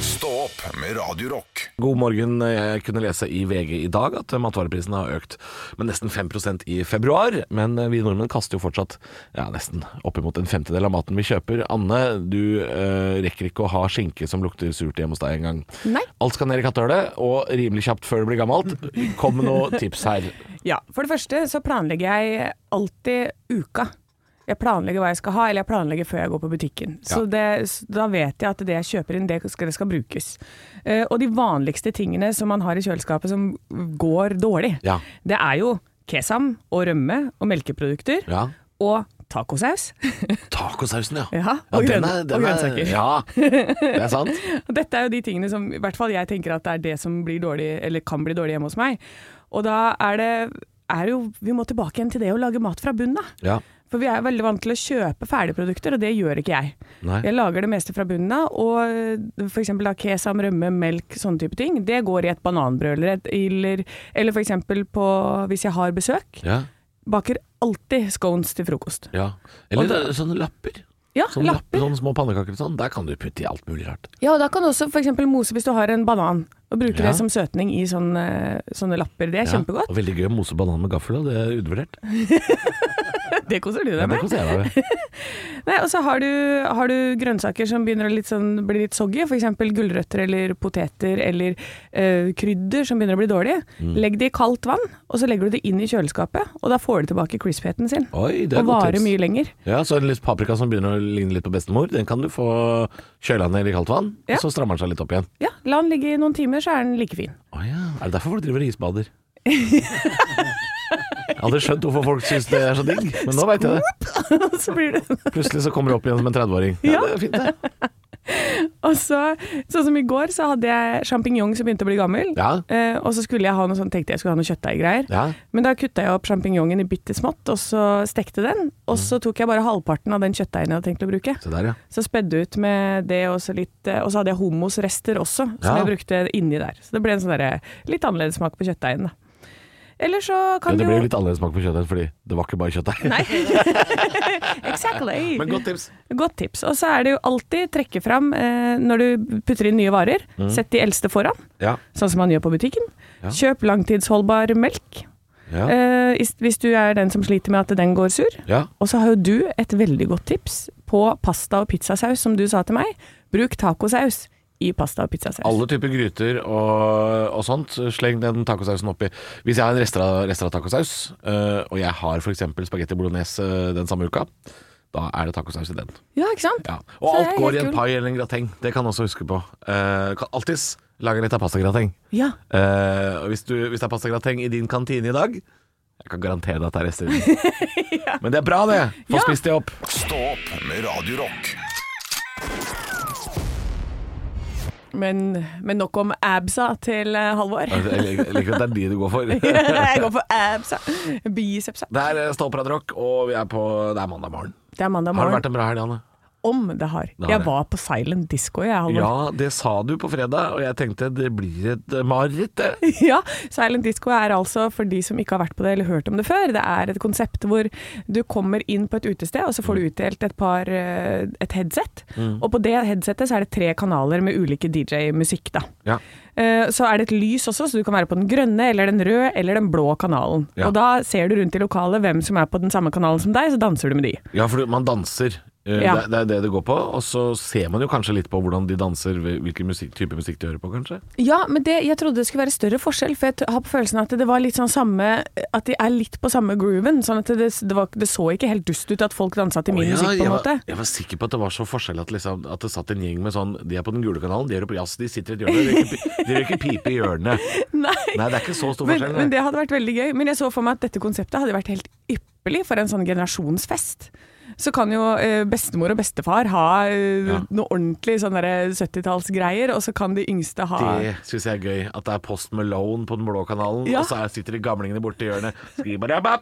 [SPEAKER 8] Stå opp med Radio Rock.
[SPEAKER 5] God morgen. Jeg kunne lese i VG i dag at matvareprisene har økt med nesten 5 i februar. Men vi nordmenn kaster jo fortsatt ja, nesten oppimot en femtedel av maten vi kjøper. Anne, du eh, rekker ikke å ha skinke som lukter surt hjemme hos deg engang.
[SPEAKER 3] Nei.
[SPEAKER 5] Alt skal ned i kattehølet, og rimelig kjapt før det blir gammelt. Kom med noen tips her.
[SPEAKER 3] ja. For det første så planlegger jeg alltid uka. Jeg planlegger hva jeg skal ha, eller jeg planlegger før jeg går på butikken. Så det, s- da vet jeg at det jeg kjøper inn, det skal, det skal brukes. Eh, og de vanligste tingene som man har i kjøleskapet som går dårlig,
[SPEAKER 5] Ja.
[SPEAKER 3] det er jo kesam og rømme og melkeprodukter.
[SPEAKER 5] Ja.
[SPEAKER 3] Og tacosaus.
[SPEAKER 5] Tacosausen, ja.
[SPEAKER 3] Ja, og
[SPEAKER 5] den
[SPEAKER 3] grønn-
[SPEAKER 5] er-
[SPEAKER 3] og
[SPEAKER 5] den er-
[SPEAKER 3] grønnsaker.
[SPEAKER 5] Ja, det er sant.
[SPEAKER 3] Og Dette er jo de tingene som i hvert fall jeg tenker at det er det som blir dårlig, eller kan bli dårlig hjemme hos meg. Og da er det er jo, Vi må tilbake igjen til det å lage mat fra bunnen av.
[SPEAKER 5] Ja.
[SPEAKER 3] For vi er jo veldig vant til å kjøpe ferdigprodukter, og det gjør ikke jeg.
[SPEAKER 5] Nei.
[SPEAKER 3] Jeg lager det meste fra bunnen av, og eh, f.eks. kesam, rømme, melk, sånne type ting. Det går i et bananbrød eller et eller, eller f.eks. på hvis jeg har besøk.
[SPEAKER 5] Ja.
[SPEAKER 3] Baker alltid scones til frokost.
[SPEAKER 5] ja.
[SPEAKER 3] Og
[SPEAKER 5] Eller
[SPEAKER 3] da-
[SPEAKER 5] sånne lapper.
[SPEAKER 3] Ja,
[SPEAKER 5] Sånne, lapper.
[SPEAKER 3] lapper.
[SPEAKER 5] sånne små pannekaker og sånn. Der kan du putte i alt mulig rart.
[SPEAKER 3] Ja, og da kan du også f.eks. mose hvis du har en banan, og bruke
[SPEAKER 5] Ja.
[SPEAKER 3] det som søtning i sånne, sånne lapper. Det er
[SPEAKER 5] Ja,
[SPEAKER 3] kjempegodt.
[SPEAKER 5] og Veldig gøy å mose banan med gaffel, da. det er undervurdert.
[SPEAKER 3] Det koser du deg
[SPEAKER 5] Ja, det
[SPEAKER 3] med.
[SPEAKER 5] koser jeg meg med.
[SPEAKER 3] Nei, og så har du, har du grønnsaker som begynner å litt sånn, bli litt soggy, f.eks. gulrøtter eller poteter eller eh, krydder som begynner å bli dårlige.
[SPEAKER 5] Mm.
[SPEAKER 3] Legg det i kaldt vann, og så legger du det inn i kjøleskapet, og da får du tilbake crispheten sin.
[SPEAKER 5] Oi, det er
[SPEAKER 3] Og
[SPEAKER 5] godt
[SPEAKER 3] varer
[SPEAKER 5] tips.
[SPEAKER 3] mye lenger.
[SPEAKER 5] Ja, så en litt paprika som begynner å ligne litt på bestemor, den kan du få kjøla ned i kaldt vann,
[SPEAKER 3] Ja.
[SPEAKER 5] og så strammer den seg litt opp igjen.
[SPEAKER 3] Ja, la den ligge i noen timer, så er den like fin.
[SPEAKER 5] Å ja, er det derfor folk driver og isbader? Jeg hadde skjønt hvorfor folk syns det er så digg, men nå veit jeg det.
[SPEAKER 3] så blir det
[SPEAKER 5] Plutselig så kommer det opp igjen som en 30-åring. Ja, det er fint, det.
[SPEAKER 3] Og så, sånn som i går, så hadde jeg sjampinjong som begynte å bli gammel.
[SPEAKER 5] Ja.
[SPEAKER 3] Eh, og så skulle jeg ha noe sånn, tenkte jeg skulle ha noe kjøttdeiggreier.
[SPEAKER 5] Ja.
[SPEAKER 3] Men da kutta jeg opp sjampinjongen i bitte smått, og så stekte den.
[SPEAKER 5] Mm.
[SPEAKER 3] Og så tok jeg bare halvparten av den kjøttdeigen jeg hadde tenkt å bruke.
[SPEAKER 5] Se der, ja.
[SPEAKER 3] Så spedde ut med det og så litt eh, Og så hadde jeg hummusrester også, som
[SPEAKER 5] Ja.
[SPEAKER 3] jeg brukte inni der. Så det ble en sånn derre litt annerledes smak på kjøttdeigen, da. Eller så
[SPEAKER 5] ja
[SPEAKER 3] kan
[SPEAKER 5] det
[SPEAKER 3] du
[SPEAKER 5] ble
[SPEAKER 3] jo
[SPEAKER 5] jo litt annerledes smak på kjøttet, fordi det var ikke bare kjøttdeig.
[SPEAKER 3] Nei. Eh. exactly.
[SPEAKER 5] Men godt tips.
[SPEAKER 3] Godt tips. Og så er det jo alltid trekke fram eh, når du putter inn nye varer.
[SPEAKER 5] Mm.
[SPEAKER 3] Sett de eldste foran,
[SPEAKER 5] Ja.
[SPEAKER 3] sånn som man gjør på butikken. Kjøp langtidsholdbar melk.
[SPEAKER 5] Ja.
[SPEAKER 3] Eh, is- hvis du er den som sliter med at den går sur.
[SPEAKER 5] ja.
[SPEAKER 3] Og så har jo du et veldig godt tips på pasta og pizzasaus, som du sa til meg. Bruk tacosaus i pasta og pizzasaus.
[SPEAKER 5] Alle typer gryter og, og sånt. Sleng den tacosausen oppi. Hvis jeg har en eh, rester av- rester av tacosaus, øh, og jeg har f.eks. spagetti bolognese øh, den eh, samme uka, Da er det tacosaus i den.
[SPEAKER 3] Ja, ikke sant?
[SPEAKER 5] Ja.
[SPEAKER 3] Så det
[SPEAKER 5] Og
[SPEAKER 3] er
[SPEAKER 5] alt går i
[SPEAKER 3] helt
[SPEAKER 5] en
[SPEAKER 3] kult.
[SPEAKER 5] pai eller en grateng. Det kan du også huske på. Eh, kan alltids lage litt av pastagrateng.
[SPEAKER 3] Ja.
[SPEAKER 5] Eh, og hvis, du, hvis det er pastagrateng i din kantine i dag Jeg kan garantere deg at det er rester. i den. Men det er bra, det! Få
[SPEAKER 3] Ja.
[SPEAKER 5] spist det opp.
[SPEAKER 8] Stå opp med Radio Rock.
[SPEAKER 3] Men, men nok om absa til eh, Halvor.
[SPEAKER 5] Jeg liker jeg liker at det er de du går for.
[SPEAKER 3] Jeg går for absa. Bicepsa.
[SPEAKER 5] Det er eh, Stå opp, Radio Rock, og vi er på, det er mandag morgen.
[SPEAKER 3] Det er mandag
[SPEAKER 5] Har det
[SPEAKER 3] morgen.
[SPEAKER 5] vært en bra helg, Anne?
[SPEAKER 3] Om det har.
[SPEAKER 5] har
[SPEAKER 3] Jeg
[SPEAKER 5] det.
[SPEAKER 3] var på silent disco, jeg, Halvor.
[SPEAKER 5] Ja, det sa du på fredag, og jeg tenkte det blir et mareritt, det.
[SPEAKER 3] Ja, Silent Disco er altså, for de som ikke har vært på det eller hørt om det før, det er et konsept hvor du kommer inn på et utested, og så får du utdelt et par eh, et headset. Og på det headsetet så er det tre kanaler med ulike DJ-musikk, da.
[SPEAKER 5] Ja.
[SPEAKER 3] Eh, Så er det et lys også, så du kan være på den grønne eller den røde eller den blå kanalen.
[SPEAKER 5] Ja.
[SPEAKER 3] Og da ser du rundt i lokalet hvem som er på den samme kanalen som deg, så danser du med de.
[SPEAKER 5] Ja, for du- man danser. Eh,
[SPEAKER 3] Ja.
[SPEAKER 5] Det, det er det det går på. Og så ser man jo kanskje litt på hvordan de danser, hvil- hvilken musikk, type musikk de hører på, kanskje.
[SPEAKER 3] Ja, men det, jeg trodde det skulle være større forskjell, for jeg t- har på følelsen at det var litt sånn samme At de er litt på samme grooven. Sånn at det, det, var, det så ikke helt dust ut at folk dansa til min
[SPEAKER 5] Å, ja,
[SPEAKER 3] musikk, på
[SPEAKER 5] jeg
[SPEAKER 3] en
[SPEAKER 5] var,
[SPEAKER 3] måte.
[SPEAKER 5] Jeg var sikker på at det var så forskjell at, liksom, at det satt en gjeng med sånn De er på den gule kanalen, de hører på jazz, de sitter i et hjørne, de røyker pi- de røyker pipe i hjørnet.
[SPEAKER 3] Nei,
[SPEAKER 5] Nei, det er ikke så stor
[SPEAKER 3] men,
[SPEAKER 5] forskjell.
[SPEAKER 3] men det hadde vært veldig gøy. Men jeg så for meg at dette konseptet hadde vært helt ypperlig for en sånn generasjonsfest. Så kan jo eh, bestemor og bestefar ha eh,
[SPEAKER 5] Ja.
[SPEAKER 3] noe ordentlig sånn derre 70-tallsgreier, og så kan de yngste ha
[SPEAKER 5] Det syns jeg er gøy. At det er Post Malone på den blå kanalen,
[SPEAKER 3] Ja.
[SPEAKER 5] og så er- sitter de gamlingene borti hjørnet.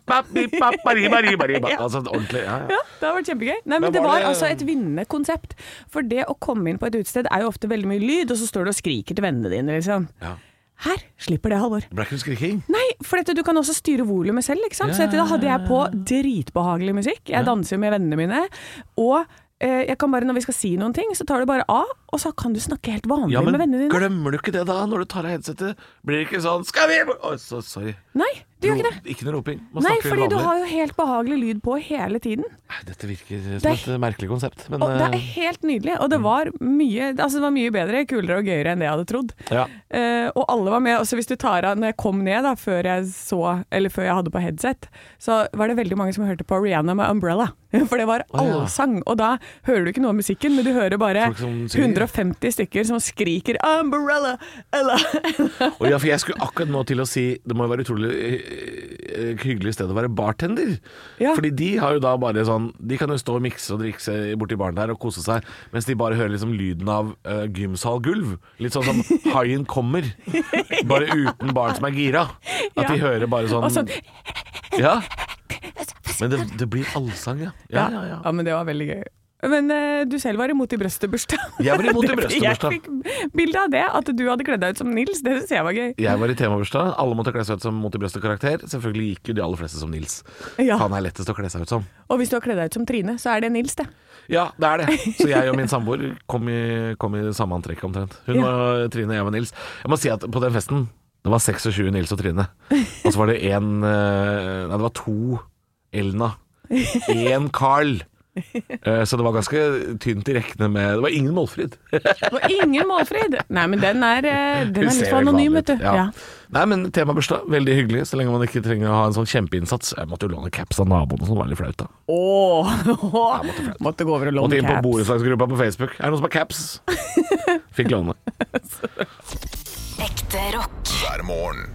[SPEAKER 5] Skribarabababibabaribaribariba. Altså ordentlig. Ja, ja.
[SPEAKER 3] Ja, det har vært kjempegøy. Nei, men,
[SPEAKER 5] Men
[SPEAKER 3] det
[SPEAKER 5] var
[SPEAKER 3] var
[SPEAKER 5] det-
[SPEAKER 3] altså et vinnende konsept. For det å komme inn på et utested er jo ofte veldig mye lyd, og så står du og skriker til vennene dine, liksom.
[SPEAKER 5] Ja.
[SPEAKER 3] Her slipper det, Halvor.
[SPEAKER 5] Ble ikke hun skriking?
[SPEAKER 3] Nei, for dette, du kan også styre volumet selv, ikke sant. Så dette, da hadde jeg på dritbehagelig musikk. Jeg danser jo med vennene mine. Og eh, jeg kan bare, når vi skal si noen ting, så tar du bare av, og så kan du snakke helt vanlig
[SPEAKER 5] Ja, men
[SPEAKER 3] med vennene dine.
[SPEAKER 5] glemmer du ikke det da, når du tar av headsetet? Blir det ikke sånn 'skal vi' Å, så sorry.
[SPEAKER 3] Nei, du gjør ikke det.
[SPEAKER 5] Ro- Ikke noe roping. Man
[SPEAKER 3] Nei,
[SPEAKER 5] snakker
[SPEAKER 3] fordi du
[SPEAKER 5] vanlig.
[SPEAKER 3] har jo helt behagelig lyd på hele tiden.
[SPEAKER 5] Nei, Dette virker
[SPEAKER 3] Det
[SPEAKER 5] som
[SPEAKER 3] er-
[SPEAKER 5] et merkelig konsept, men
[SPEAKER 3] Og det
[SPEAKER 5] eh, mm.
[SPEAKER 3] er helt nydelig. Og det var mye, altså det var mye bedre, kulere og gøyere enn det jeg hadde trodd.
[SPEAKER 5] Ja.
[SPEAKER 3] Eh, og alle var med. Også hvis du tar av Når jeg kom ned da, før jeg så Eller før jeg hadde på headset, så var det veldig mange som hørte på Rihanna med 'Umbrella'. For det var
[SPEAKER 5] ja.
[SPEAKER 3] allsang. Og da hører du ikke noe av musikken, men du hører bare
[SPEAKER 5] Folk som synger.
[SPEAKER 3] 150 stykker som skriker 'Umbrella! Ella!'
[SPEAKER 5] Og ja, for jeg skulle akkurat nå til å si Det må jo være utrolig eh, eh, hyggelig sted å være bartender.
[SPEAKER 3] Ja.
[SPEAKER 5] Fordi de har jo da bare sånn De kan jo stå og mikse og drikke seg borti baren der og kose seg, mens de bare hører liksom lyden av eh, gymsalgulv. Litt sånn som haien kommer, bare uten barn som er gira. At de
[SPEAKER 3] Ja.
[SPEAKER 5] hører bare sånn,
[SPEAKER 3] Og sånn
[SPEAKER 5] Ja. Men det, det blir allsang, ja. Ja, ja, ja.
[SPEAKER 3] men det var veldig gøy. Men eh, du selv var imot i brøstet bursdag.
[SPEAKER 5] Jeg var imot i
[SPEAKER 3] Det-
[SPEAKER 5] brøstet bursdag.
[SPEAKER 3] Jeg fikk bilde av det, at du hadde kledd deg ut som Nils. Det syns jeg var gøy.
[SPEAKER 5] Jeg var i temabursdag. Alle måtte kle seg ut som mot i brøstet karakter. Selvfølgelig gikk jo de aller fleste som Nils.
[SPEAKER 3] Ja.
[SPEAKER 5] Han er lettest å kle seg ut som.
[SPEAKER 3] Og hvis du har kledd deg ut som Trine, så er det Nils, det.
[SPEAKER 5] Ja, det er det. Så jeg og min samboer kom, i- kom i samme antrekk omtrent. Hun
[SPEAKER 3] Ja.
[SPEAKER 5] var Trine, jeg var Nils. Jeg må si at på den festen, det var 26 Nils og Trine. Og så var det en eh, Nei, det var to Elna. Én Carl. Eh, Så det var ganske tynt i rekkene med Det var ingen Målfrid.
[SPEAKER 3] Og ingen Målfrid! Nei, men den er, eh, den er litt for anonym, vet du.
[SPEAKER 5] Ja.
[SPEAKER 3] Ja.
[SPEAKER 5] Nei, men temabursdag, veldig hyggelig, så lenge man ikke trenger å ha en sånn kjempeinnsats. Jeg måtte jo låne caps av naboen, så det var litt flaut, da.
[SPEAKER 3] Åh, måtte gå over og
[SPEAKER 5] Måtte
[SPEAKER 3] låne
[SPEAKER 5] inn på
[SPEAKER 3] caps.
[SPEAKER 5] borettslagsgruppa på Facebook. Er det noen som har caps? Fikk låne.
[SPEAKER 1] Ekte rock.
[SPEAKER 8] hver morgen.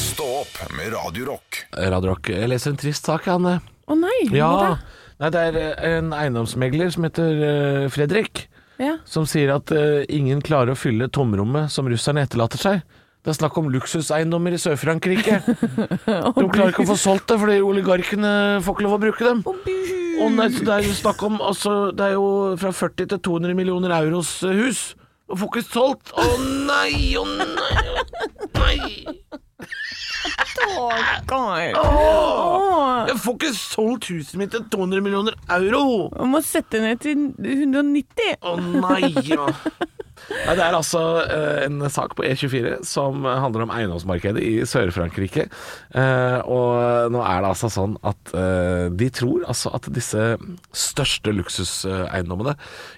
[SPEAKER 8] Stå opp med Radio Rock.
[SPEAKER 5] Radio Rock. Jeg leser en trist sak, Anne.
[SPEAKER 3] Å nei, hva
[SPEAKER 5] Ja.
[SPEAKER 3] da?
[SPEAKER 5] Nei, det er eh, en eiendomsmegler som heter eh, Fredrik,
[SPEAKER 3] Ja.
[SPEAKER 5] som sier at eh, ingen klarer å fylle tomrommet som russerne etterlater seg. Det er snakk om luksuseiendommer i Sør-Frankrike. De klarer ikke å få solgt det fordi oligarkene får ikke lov å bruke dem. Og nei, så det er jo snakk om altså, Det er jo fra 40 til 200 millioner euros eh, hus. Og får ikke solgt. Å nei, å nei, å nei. Jeg får ikke solgt huset mitt til 200 millioner euro!
[SPEAKER 3] Man må sette ned til 190.
[SPEAKER 5] Å nei! Ja. Nei, det er altså eh, en sak på E24 som handler om eiendomsmarkedet i Sør-Frankrike. Eh, og nå er det altså sånn at eh, de tror altså at disse største luksuseiendommene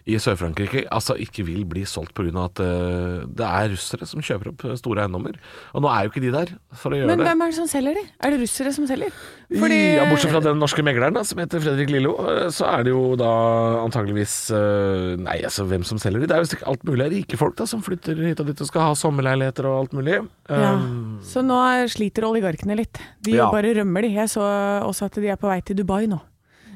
[SPEAKER 5] i Sør-Frankrike altså ikke vil bli solgt pga. at eh, det er russere som kjøper opp store eiendommer. Og nå er jo ikke de der for å gjøre
[SPEAKER 3] Men
[SPEAKER 5] det.
[SPEAKER 3] hvem er det som selger de? Er det russere som selger?
[SPEAKER 5] Ja, Bortsett fra den norske megleren da, som heter Fredrik Lillo, eh, så er det jo da antageligvis eh, Nei, altså hvem som selger de? Det er jo sikkert alt mulig av rike folk da, som flytter hit og dit og skal ha sommerleiligheter og alt mulig.
[SPEAKER 3] ja.
[SPEAKER 5] Um,
[SPEAKER 3] Så nå sliter oligarkene litt. De
[SPEAKER 5] Ja.
[SPEAKER 3] bare rømmer de. Jeg så også at de er på vei til Dubai nå.